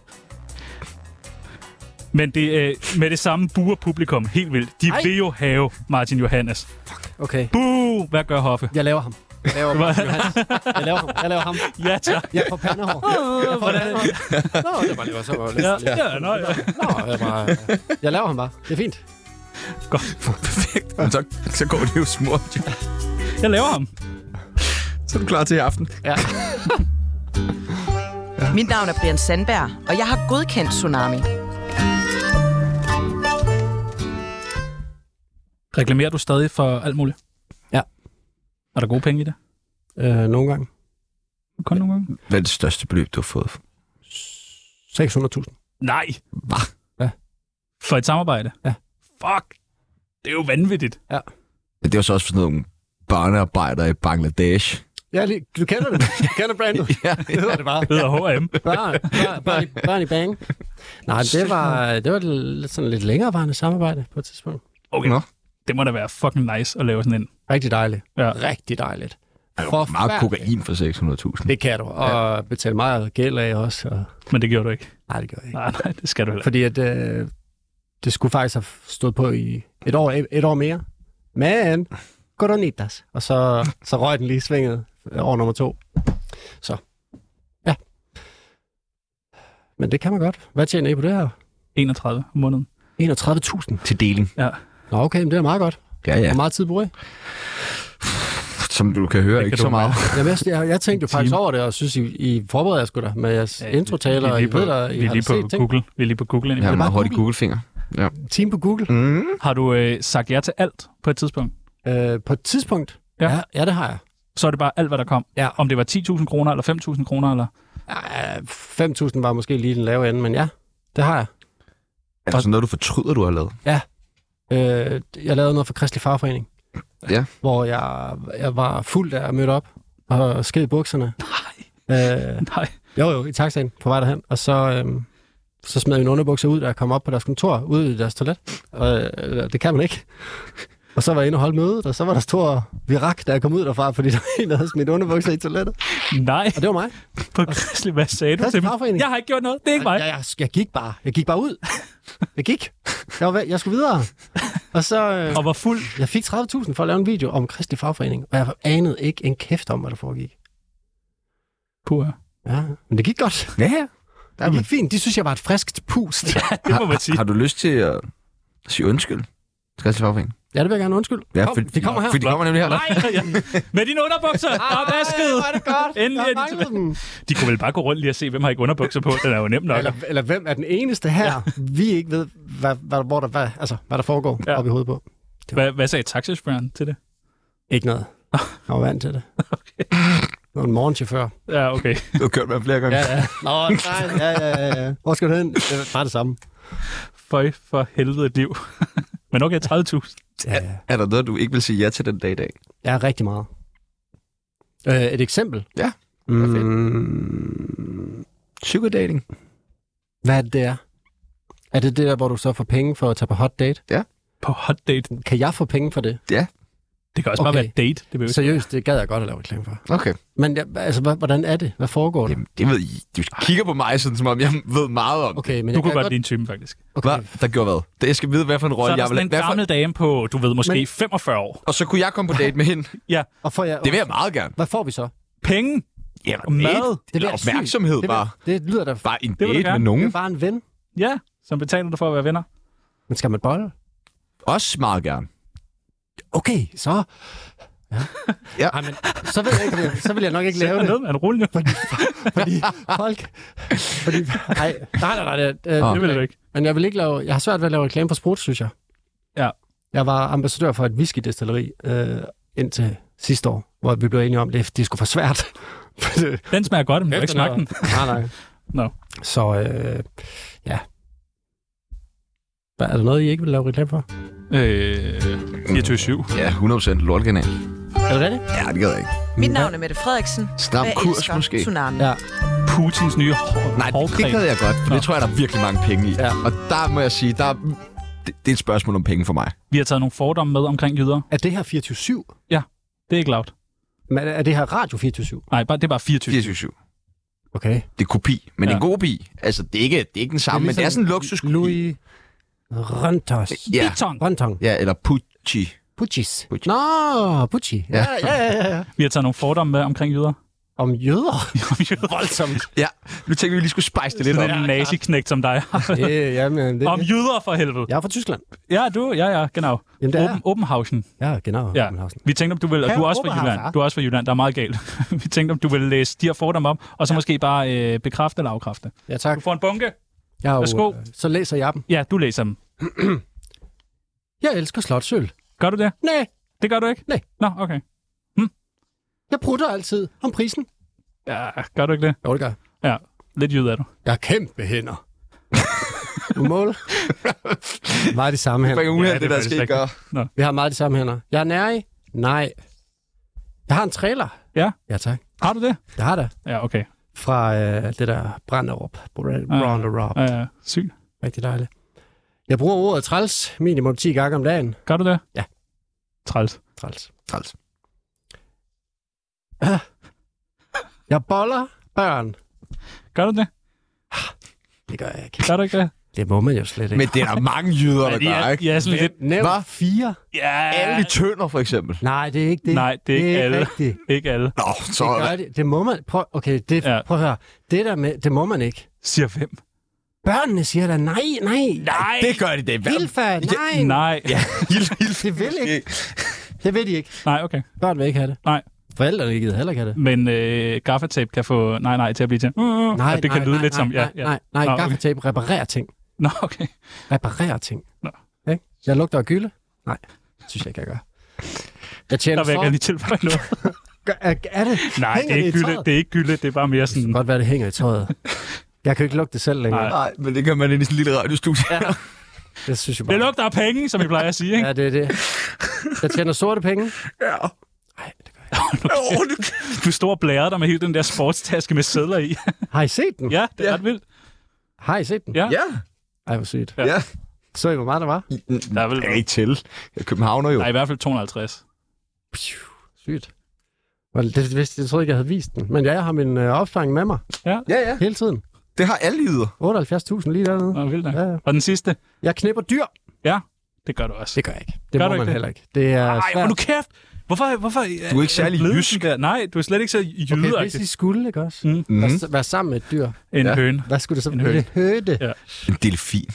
S3: Men det, øh, med det samme buer publikum helt vildt. De
S5: Ej.
S3: Ej. vil jo have Martin Johannes.
S5: Okay.
S3: Buh! Hvad gør Hoffe?
S5: Jeg laver ham. Jeg laver, Martin Johannes. jeg laver ham. Jeg laver ham.
S3: Ja, [LAUGHS] tak.
S5: Jeg får pandehår. Jeg, jeg får pandehår. Nå, det var lige så var
S3: Ja, ja, nej, ja.
S5: Nå, jeg, bare, jeg laver ham bare. Det er fint.
S1: [LAUGHS] Perfekt. Men så, så går det jo [LAUGHS] smurt.
S3: Jeg laver ham.
S1: Så er du klar til i aften.
S4: Mit navn er Brian Sandberg, og jeg har godkendt Tsunami.
S3: Reklamerer du stadig for alt muligt?
S5: Ja.
S3: Er der gode penge i det?
S5: Øh, nogle gange.
S3: Kun nogle gange?
S1: Hvad er det største beløb, du har fået?
S5: 600.000.
S3: Nej.
S1: Hva?
S3: For et samarbejde?
S5: Ja.
S3: Fuck. Det er jo vanvittigt.
S1: Ja, det var så også for sådan nogle børnearbejdere i Bangladesh.
S5: Ja, lige, du kender det. Du kender [LAUGHS] brandet.
S1: [LAUGHS] Ja,
S5: Det hedder det bare.
S3: Det hedder H&M.
S5: Børn, børn, børn, i- børn i bang. Nej, men det var, det var et lidt, sådan lidt længerevarende samarbejde på et tidspunkt.
S3: Okay.
S1: Nå.
S3: Det må da være fucking nice at lave sådan en.
S5: Rigtig dejligt.
S3: Ja.
S5: Rigtig dejligt.
S1: For meget
S5: Forfærdeligt.
S1: kokain for 600.000.
S5: Det kan du. Og ja. betale meget gæld af også. Og...
S3: Men det gjorde du ikke.
S5: Nej, det gør jeg ikke.
S3: Nej, nej, det skal du heller ikke.
S5: Fordi at, øh, det skulle faktisk have stået på i et år, et år mere. Men, coronitas. altså. Og så, så røg den lige i svinget øh, år nummer to. Så, ja. Men det kan man godt. Hvad tjener I på det her?
S3: 31 om måneden.
S5: 31.000.
S1: Til deling.
S3: Ja.
S5: Nå, okay, men det er meget godt.
S1: Ja, ja.
S5: Hvor meget tid bruger I?
S1: Som du kan høre, ikke
S3: du
S1: så meget.
S5: Jamen, jeg, jeg, jeg tænkte jo faktisk over det, og synes, I, I forbereder jer sgu da med jeres ja, introtaler, og I ved, der, I
S3: vi er
S5: har
S3: lige
S5: set
S3: på
S5: ting.
S3: Google. Vi er lige på Google.
S1: Jeg
S3: Ja.
S1: har meget Mm.
S5: bare
S1: hurtig Google-finger. Ja.
S5: Team på Google.
S3: Har du øh, sagt ja til alt på et tidspunkt?
S5: Øh, på et tidspunkt?
S3: Ja.
S5: ja. Ja, det har jeg.
S3: Så er det bare alt, hvad der kom.
S5: Ja.
S3: Om det var 10.000 kroner eller 5.000 kroner. Eller...
S5: Øh, 5.000 var måske lige den lave ende, men ja, det har jeg.
S1: Er der sådan noget, du fortryder, du har lavet?
S5: Øh, jeg lavede noget for Kristelig Fagforening.
S1: Ja.
S5: Hvor jeg, jeg var fuld af at møde op og sked i bukserne. Nej. Øh,
S3: Nej.
S5: jo, jo, i taxaen på vej derhen. Og så, øh, så smed min underbukser ud, da jeg kom op på deres kontor, ude i deres toilet. Og, øh, det kan man ikke. Og så var jeg inde og holde mødet, og så var der stor virak, da jeg kom ud derfra, fordi der var en, der havde smidt underbukser i toilettet. [LAUGHS]
S3: Nej,
S5: Og det var mig.
S3: på Kristelig, hvad sagde du
S5: Kristelig
S3: til mig?
S5: Fagforening.
S3: Jeg har ikke gjort noget, det er ikke mig.
S5: Jeg, jeg, jeg gik bare. Jeg gik bare ud. Jeg gik. Jeg, var, væk. jeg skulle videre. Og så... Øh,
S3: Og var fuld.
S5: Jeg fik 30.000 for at lave en video om Kristelig Fagforening, og jeg anede ikke en kæft om, hvad der foregik.
S3: Pur.
S5: Ja, men det gik godt.
S1: Ja, ja.
S5: Det gik fint. De synes, jeg var et friskt pust.
S3: Det må man sige.
S1: Har du lyst til at sige undskyld? Skal jeg til fagforeningen?
S5: Ja, det vil jeg gerne undskylde. Kom, de kommer her.
S1: Fordi de kommer nemlig her.
S3: Nej, [LAUGHS] ja. med dine underbukser, der er vasket.
S5: Ej, hvor er det godt.
S3: Endelig
S5: Jeg
S3: er de
S5: manglede
S3: tilbage.
S5: dem.
S3: De kunne vel bare gå rundt lige og se, hvem har ikke underbukser på. Den er jo nem nok.
S5: Eller, eller hvem er den eneste her, vi ikke ved, hvad, hvad, hvor der, hvad, altså, hvad der foregår
S3: Ja.
S5: ja. oppe i hovedet på.
S3: Hvad, hvad sagde taxichaufføren til det?
S5: Ikke noget. Jeg var vant til
S3: [LAUGHS]
S5: det. Okay. en morgenchauffør.
S3: Ja, okay.
S1: Du har kørt med flere gange.
S5: ja. Nå, nej, ja, ja, ja, ja. Hvor skal du hen? Det var bare det samme.
S3: Føj for helvede et liv. [LAUGHS] Men okay, 30.000.
S5: Ja, ja.
S1: Er der noget, du ikke vil sige ja til den dag i dag?
S5: Ja, rigtig meget. Øh, et eksempel?
S1: Ja, perfekt.
S5: Mm,
S1: Sugar dating.
S5: hvad er det, det er? Er det det der, hvor du så får penge for at tage på hot date?
S3: På hot date.
S5: Kan jeg få penge for det?
S3: Det kan også okay. bare
S5: Okay.
S3: være date. Det behøver. Så...
S5: Seriøst, det gad jeg godt at lave reklame for.
S1: Okay.
S5: Men jeg, altså, hva- hvordan er det? Hvad foregår der?
S1: Jamen, det ved I. Du kigger på mig, sådan, som om jeg ved meget om.
S5: Okay, men
S3: Du
S5: jeg
S3: kunne
S5: kan
S3: godt lide en type, faktisk.
S5: Okay.
S1: Hvad? Der gjorde hvad? Det, jeg skal vide, hvad for en
S3: Så
S1: rolle
S3: er der
S1: jeg vil
S3: sådan en
S1: hvad for...
S3: gammel dame på, du ved, måske Men...
S5: Men-
S3: 45 år.
S1: Og så kunne jeg komme på date med hende.
S3: Ja,
S5: Og får jeg,
S1: Det vil jeg meget gerne.
S5: Hvad får vi så?
S3: penge.
S1: Jamen,
S3: Og mad.
S1: Det, det
S5: vil
S1: er
S5: jeg
S1: opmærksomhed
S5: sygt. det vil-
S1: bare.
S5: Det lyder da f-
S1: Bare en
S3: Det vil du
S1: date med
S3: gerne.
S5: det er
S1: nogen.
S5: bare en ven.
S3: Ja, som betaler dig for at være venner.
S5: Men skal man bolle?
S1: Også meget gerne.
S5: Okay, så...
S1: Ja.
S5: Ej, men, så, ved jeg ikke, om jeg- så vil jeg nok ikke lave
S3: Sæt dig
S5: det.
S3: ned, er du rolig nu?
S5: Fordi, fordi folk... Fordi, ej, nej, nej, nej. Det, øh,
S1: Ah.
S3: Det vil du ikke.
S5: Men jeg vil ikke lave... Jeg har svært ved at lave reklame for sprut, synes jeg.
S3: Ja.
S5: Jeg var ambassadør for et whiskydestilleri øh, indtil sidste år, hvor vi blev enige om, at det, det skulle for svært. For det-
S3: Den smager godt, men du har ikke
S5: Efter
S3: smagt den.
S5: noget- [LAUGHS] Nej, nej.
S3: Nå.
S5: Så øh, ja. Hvad, er der noget, I ikke vil lave reklame for?
S3: Øh, 24-7.
S1: Ja, 100% lortkanal.
S5: Er det rigtigt?
S1: Ja, det gad jeg ikke.
S4: Mit navn er Mette Frederiksen.
S1: Stram
S4: Jeg
S1: kurs,
S4: elsker
S1: måske.
S4: Tsunami.
S5: Ja.
S3: Putins nye hår-
S1: Nej, det, det
S3: hårcreme.
S1: gad jeg godt, for
S3: Nå.
S1: det tror jeg, der er virkelig mange penge i.
S5: Ja.
S1: Og der må jeg sige, der er, det, det er et spørgsmål om penge for mig.
S3: Vi har taget nogle fordomme med omkring jyder.
S5: Er det her 24-7?
S3: Det er ikke lavt.
S5: Men er det her Radio 24-7?
S3: Nej, bare, det er bare 24.
S1: 24-7.
S5: Okay.
S1: Det er kopi, men
S3: Ja.
S1: ja. en god bi. Altså, det er ikke, det er ikke den samme, men det er sådan en luksus
S5: ligesom Louis Rantos.
S1: Ja.
S3: Bitong.
S5: Rantong.
S1: ja, eller Pucci.
S5: Puccis.
S1: Pucci.
S5: Nå, Pucci. Ja, ja, ja. ja.
S3: Vi har taget nogle fordomme med omkring jyder. [LAUGHS]
S5: Om jøder.
S3: Voldsomt.
S1: Ja, nu tænkte vi lige skulle spice det lidt op.
S3: Sådan en naziknægt som dig.
S5: øh, jamen, [LAUGHS]
S3: [LAUGHS]
S5: det,
S3: Om jyder for helvede.
S5: jeg er fra Tyskland.
S3: Ja, du, ja, ja, genau.
S5: Jamen, det er
S3: Open, Openhausen.
S5: Ja, genau.
S3: Ja.
S5: København.
S3: Vi tænkte, om du vil, og du
S5: Herre
S3: er også fra
S5: Oberhausen,
S3: Jylland.
S5: ja.
S3: Du er også fra Jylland, der er meget galt. [LAUGHS] Vi tænkte, om du vil læse de her fordomme op, og så måske bare øh, bekræfte eller afkræfte.
S5: Ja, tak.
S3: Du får en bunke.
S5: Jeg er jo,
S3: Værsgo.
S5: øh, så læser jeg dem.
S3: Ja, du læser dem.
S5: Jeg elsker slotsøl.
S3: Gør du det?
S5: Nej,
S3: Det gør du ikke?
S5: Nej.
S3: Nå, okay.
S5: jeg prutter altid om prisen.
S3: Ja, gør du ikke det?
S5: Jo, det gør jeg.
S3: Ja, lidt jyd er du.
S5: Jeg har kæmpe
S3: [LAUGHS]
S5: hænder. Du måler. meget de samme
S1: Det er
S5: hænder.
S1: uheld,
S3: Ja,
S1: det,
S3: det
S1: det der
S3: er
S1: skal
S3: faktisk
S1: ikke gøre.
S5: Vi har meget de samme hænder. Jeg er nær i? Nej. Jeg har en trailer.
S3: Ja.
S5: Ja, tak.
S3: Har du det?
S5: Jeg har det.
S3: Ja, okay.
S5: Fra øh, det der Branderup. Branderup. Ja.
S3: Øh, syg.
S5: Rigtig dejligt. Jeg bruger ordet træls minimum 10 gange om dagen.
S3: Gør du det?
S5: Ja.
S3: Træls.
S5: Træls.
S1: Træls.
S5: Jeg boller børn.
S3: Gør du det?
S5: Det gør jeg ikke.
S3: Gør du ikke det?
S5: Det må man jo slet ikke.
S1: Men det er der mange jyder, der
S3: de
S1: gør,
S3: er,
S1: ikke?
S3: de er sådan lidt...
S5: Nævn
S1: Hvad?
S5: fire.
S3: Ja,
S1: Alle de tønder, for eksempel.
S5: Nej, det er ikke det.
S3: Nej, det er ikke alle.
S5: rigtigt.
S3: Ikke alle.
S1: Nå, så...
S5: Det gør det. Det må man. Prøv, okay, det,
S3: Ja.
S5: ja. prøv at høre. Det der med, det må man ikke.
S3: Siger hvem?
S5: Børnene siger da, nej, nej,
S3: Nej!
S1: Det gør de det. Hvad?
S5: Hilfa, nej,
S3: Nej. Ja.
S1: Hilf, hilf.
S5: det vil ikke. Det vil de ikke.
S3: Nej, okay.
S5: Børn vil ikke have det.
S3: Nej.
S5: Forældrene gider heller ikke have det.
S3: Men øh, gaffatape kan få nej, nej til at blive til. Mm,
S5: Nej,
S3: at det kan
S5: nej,
S3: lyde
S5: nej,
S3: lidt
S5: nej,
S3: som...
S5: Nej, nej, nej.
S3: Nå, okay.
S5: Gaffatape reparerer ting.
S3: Nå, okay.
S5: Reparerer ting.
S3: Nå.
S5: Ikke? Jeg lugter af gylde? Nej, det synes jeg ikke, jeg gør. Jeg tjener
S3: Der vil jeg
S5: for...
S3: gerne lige tilføje noget.
S5: Gør- Er, er det?
S3: Nej, det er,
S5: Hænger
S3: ikke
S5: i
S3: gylde,
S5: tøjet?
S3: det er ikke gylde. Det er bare mere sådan...
S5: [LAUGHS] kan godt være, det hænger i tøjet. Jeg kan jo ikke lugte det selv længere.
S3: Nej.
S1: Nej, men det kan man ind i sådan en lille radiostudie. Ja.
S5: Det synes jeg bare.
S3: Det lugter af penge, som I plejer at sige, ikke?
S5: Ja, det er
S3: [LAUGHS]
S5: det. Jeg tjener sorte penge.
S1: Oh, du...
S3: Du står og blærer dig med hele den der sportstaske med sædler i.
S5: Har I set den?
S3: Ja, det er
S1: Ja.
S3: ret vildt.
S5: Har I set den?
S3: Ja.
S1: Ja,
S5: Ej, hvor sygt.
S3: Ja.
S1: ja.
S5: Så I, hvor meget der var?
S3: Der er vel...
S1: Jeg er ikke til. Jeg er københavner jo.
S3: Nej, i hvert fald 250.
S5: Pju, Sygt. Hvor- Det, det, vidste, jeg troede ikke, jeg havde vist den. Men ja, jeg har min øh, opsparing med mig
S1: Ja, ja.
S5: hele tiden.
S1: Det har alle yder.
S5: 78.000 lige dernede.
S3: Nå, vildt nok.
S5: Ja, ja.
S3: Og den sidste,
S5: Jeg knipper dyr.
S3: det gør du også.
S5: Det gør jeg ikke. Det
S3: Gør
S5: gør
S3: du
S5: må
S3: ikke
S5: man
S3: det?
S5: heller ikke. Det er
S3: Nej,
S5: svært.
S3: hvor du kæft. Hvorfor, hvorfor
S1: Du er ikke særlig
S3: blevet
S1: jysk.
S3: sådan Der? Nej, du er slet ikke så jyde
S5: Okay, hvis
S3: okay,
S5: I skulle, ikke også?
S3: Mm.
S5: Mm. Være, være sammen med et dyr.
S3: en
S1: Ja.
S3: høne.
S5: Hvad skulle det så
S3: En høne.
S5: blive? Høde.
S3: Ja.
S1: En delfin.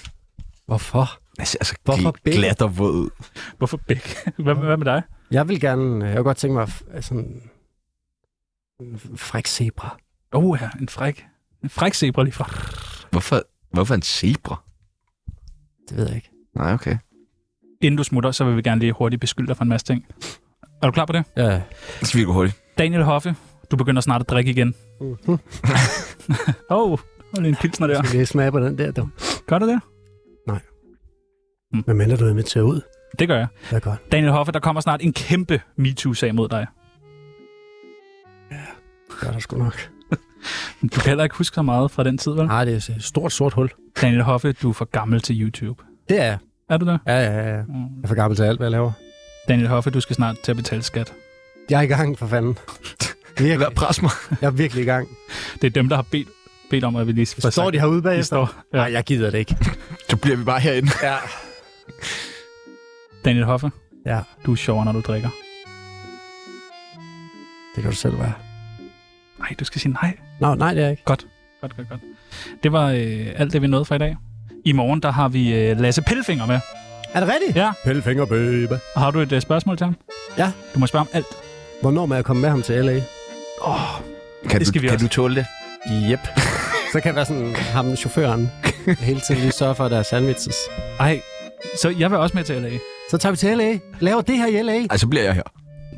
S5: Hvorfor?
S1: Den ser altså
S5: Hvorfor
S1: gl-
S5: begge?
S1: glat og våd ud.
S3: Hvorfor [LAUGHS] begge? Hvad, hvad med dig?
S5: Jeg vil gerne... øh, Jeg kunne godt tænke mig f- sådan... en Fræk zebra.
S3: Oh ja, en fræk. En fræk zebra lige fra.
S1: Hvorfor, hvorfor en zebra?
S5: Det ved jeg ikke.
S1: Nej, okay.
S3: Inden du smutter, så vil vi gerne lige hurtigt beskylde dig for en masse ting. Er du klar på det?
S5: Ja.
S1: Det skal vi gå hurtigt.
S3: Daniel Hoffe, du begynder snart at drikke igen. [LAUGHS]
S5: Mm.
S3: Åh, oh, hold en pilsner der.
S5: Jeg skal lige smage på den der, du.
S3: Gør du det?
S5: Hvad mener du, med tager ud?
S3: Det gør jeg.
S5: Det er godt.
S3: Daniel Hoffe, der kommer snart en kæmpe MeToo-sag mod dig.
S5: Det gør der sgu nok.
S3: Du kan heller ikke huske så meget fra den tid, vel?
S5: Nej, Ah, det er et stort sort hul.
S3: Daniel Hoffe, du er for gammel til YouTube.
S5: Det er jeg.
S3: Er du der?
S5: Ja, ja, ja. ja.
S3: Mm.
S5: Jeg er for gammel til alt, hvad jeg laver.
S3: Daniel Hoffe, du skal snart til at betale skat.
S5: Jeg er i gang, for fanden.
S1: Lad
S5: Virkelig.
S1: være pres mig.
S5: Jeg er virkelig i [LAUGHS] gang.
S3: Det er dem, der har bedt, bedt om, at vi lige skal
S5: Står de herude
S3: de
S5: bagefter?
S3: står.
S5: Nej, jeg gider det ikke.
S1: Så bliver vi bare herinde.
S5: [LAUGHS] Ja.
S3: Daniel Hoffe,
S5: Ja,
S3: du er sjovere, når du drikker.
S5: det kan du selv være.
S3: Nej, du skal sige nej.
S5: Nå, nej, det er jeg ikke.
S3: Godt, godt, godt. Det var øh, alt det, vi nåede for i dag. I morgen, der har vi øh, Lasse Pillefinger med.
S5: Er det rigtigt?
S3: Ja.
S5: Pelfinger, baby.
S3: Har du et øh, spørgsmål til ham?
S5: Ja.
S3: Du må spørge om alt.
S5: Hvornår må jeg komme med ham til LA?
S1: Kan,
S3: Det skal
S1: du,
S3: vi
S1: kan
S3: også.
S1: du tåle det?
S5: Yep. [LAUGHS] så kan jeg være sådan ham, chaufføren, hele tiden lige sørge for, at der er sandwiches.
S3: Ej, så jeg vil også med til LA.
S5: Så tager vi til LA. Laver det her i LA.
S1: Ej, så bliver jeg her.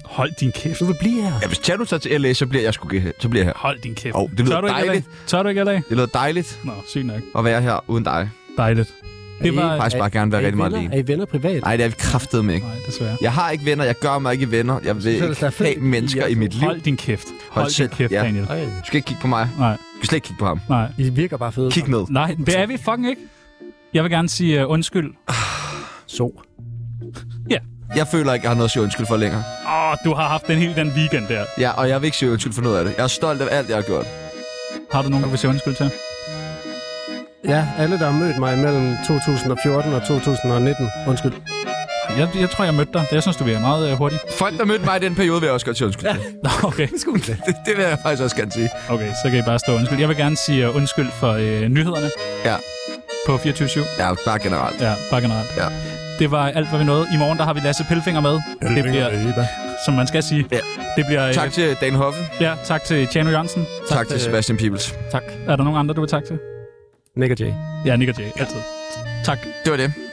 S3: Hold din kæft.
S5: Du vil blive her.
S1: Ja, hvis Tjano tager til LA, så bliver jeg sgu ikke- så bliver jeg her.
S3: Hold din kæft.
S1: Åh, det lyder
S3: Tør du ikke
S1: dejligt.
S3: LA? Tør du ikke LA?
S1: Det lyder dejligt
S3: Nå, sygt nok.
S1: at være her uden dig.
S3: Dejligt. Det
S5: I
S3: var...
S5: ikke-
S1: Jeg faktisk
S5: Er-
S1: bare gerne være
S5: er I
S1: rigtig meget
S5: venner?
S1: alene.
S5: Er I venner privat?
S1: Nej, det er vi kraftet med ikke.
S3: Nej, desværre.
S1: Jeg har ikke venner, jeg gør mig ikke venner. Jeg vil
S5: synes, det er
S1: ikke
S5: så fedt.
S1: have mennesker i mit liv.
S3: Hold din kæft. Hold, Hold din
S1: selv.
S3: kæft,
S1: Ja.
S3: Daniel.
S5: Ej,
S1: Du skal ikke kigge på mig.
S3: Nej,
S1: Du skal slet ikke kigge på ham.
S3: nej.
S5: I virker bare fede.
S1: Kig ned.
S3: Nej, det er vi fucking ikke. Jeg vil gerne sige uh, undskyld.
S5: Så.
S1: Jeg føler ikke, jeg har noget at sige undskyld for længere.
S3: Åh, oh, du har haft den hele den weekend der.
S1: Ja, og jeg vil ikke sige undskyld for noget af det. Jeg er stolt af alt, jeg har gjort.
S3: Har du nogen, du vil sige undskyld til?
S5: Ja, alle, der har mødt mig mellem 2014 og 2019. Undskyld.
S3: Jeg, jeg tror, jeg mødte dig. Det jeg synes du virker meget uh, hurtigt.
S1: Folk, der mødte mig i den periode, vil jeg også godt sige undskyld. Ja.
S3: Nå, okay.
S1: [LAUGHS] Det, det vil jeg faktisk også gerne sige.
S3: Okay, så kan I bare stå undskyld. Jeg vil gerne sige uh, undskyld for uh, nyhederne.
S1: Ja.
S3: På 24
S1: Ja, bare generelt.
S3: Ja, bare generelt.
S1: Ja.
S3: Det var alt, hvad vi nåede. I morgen der har vi Lasse Pelfinger med. det bliver, som man skal sige.
S1: Ja.
S3: Det bliver, øh,
S1: Tak til Dan Hoffe.
S3: ja, tak til Tjano Jørgensen.
S1: Tak, tak til Sebastian Peebles.
S5: Tak.
S3: Er der nogen andre, du vil takke til?
S5: Nick og Jay.
S3: Ja, Nick og Jay. Altid. Tak.
S1: Det var det.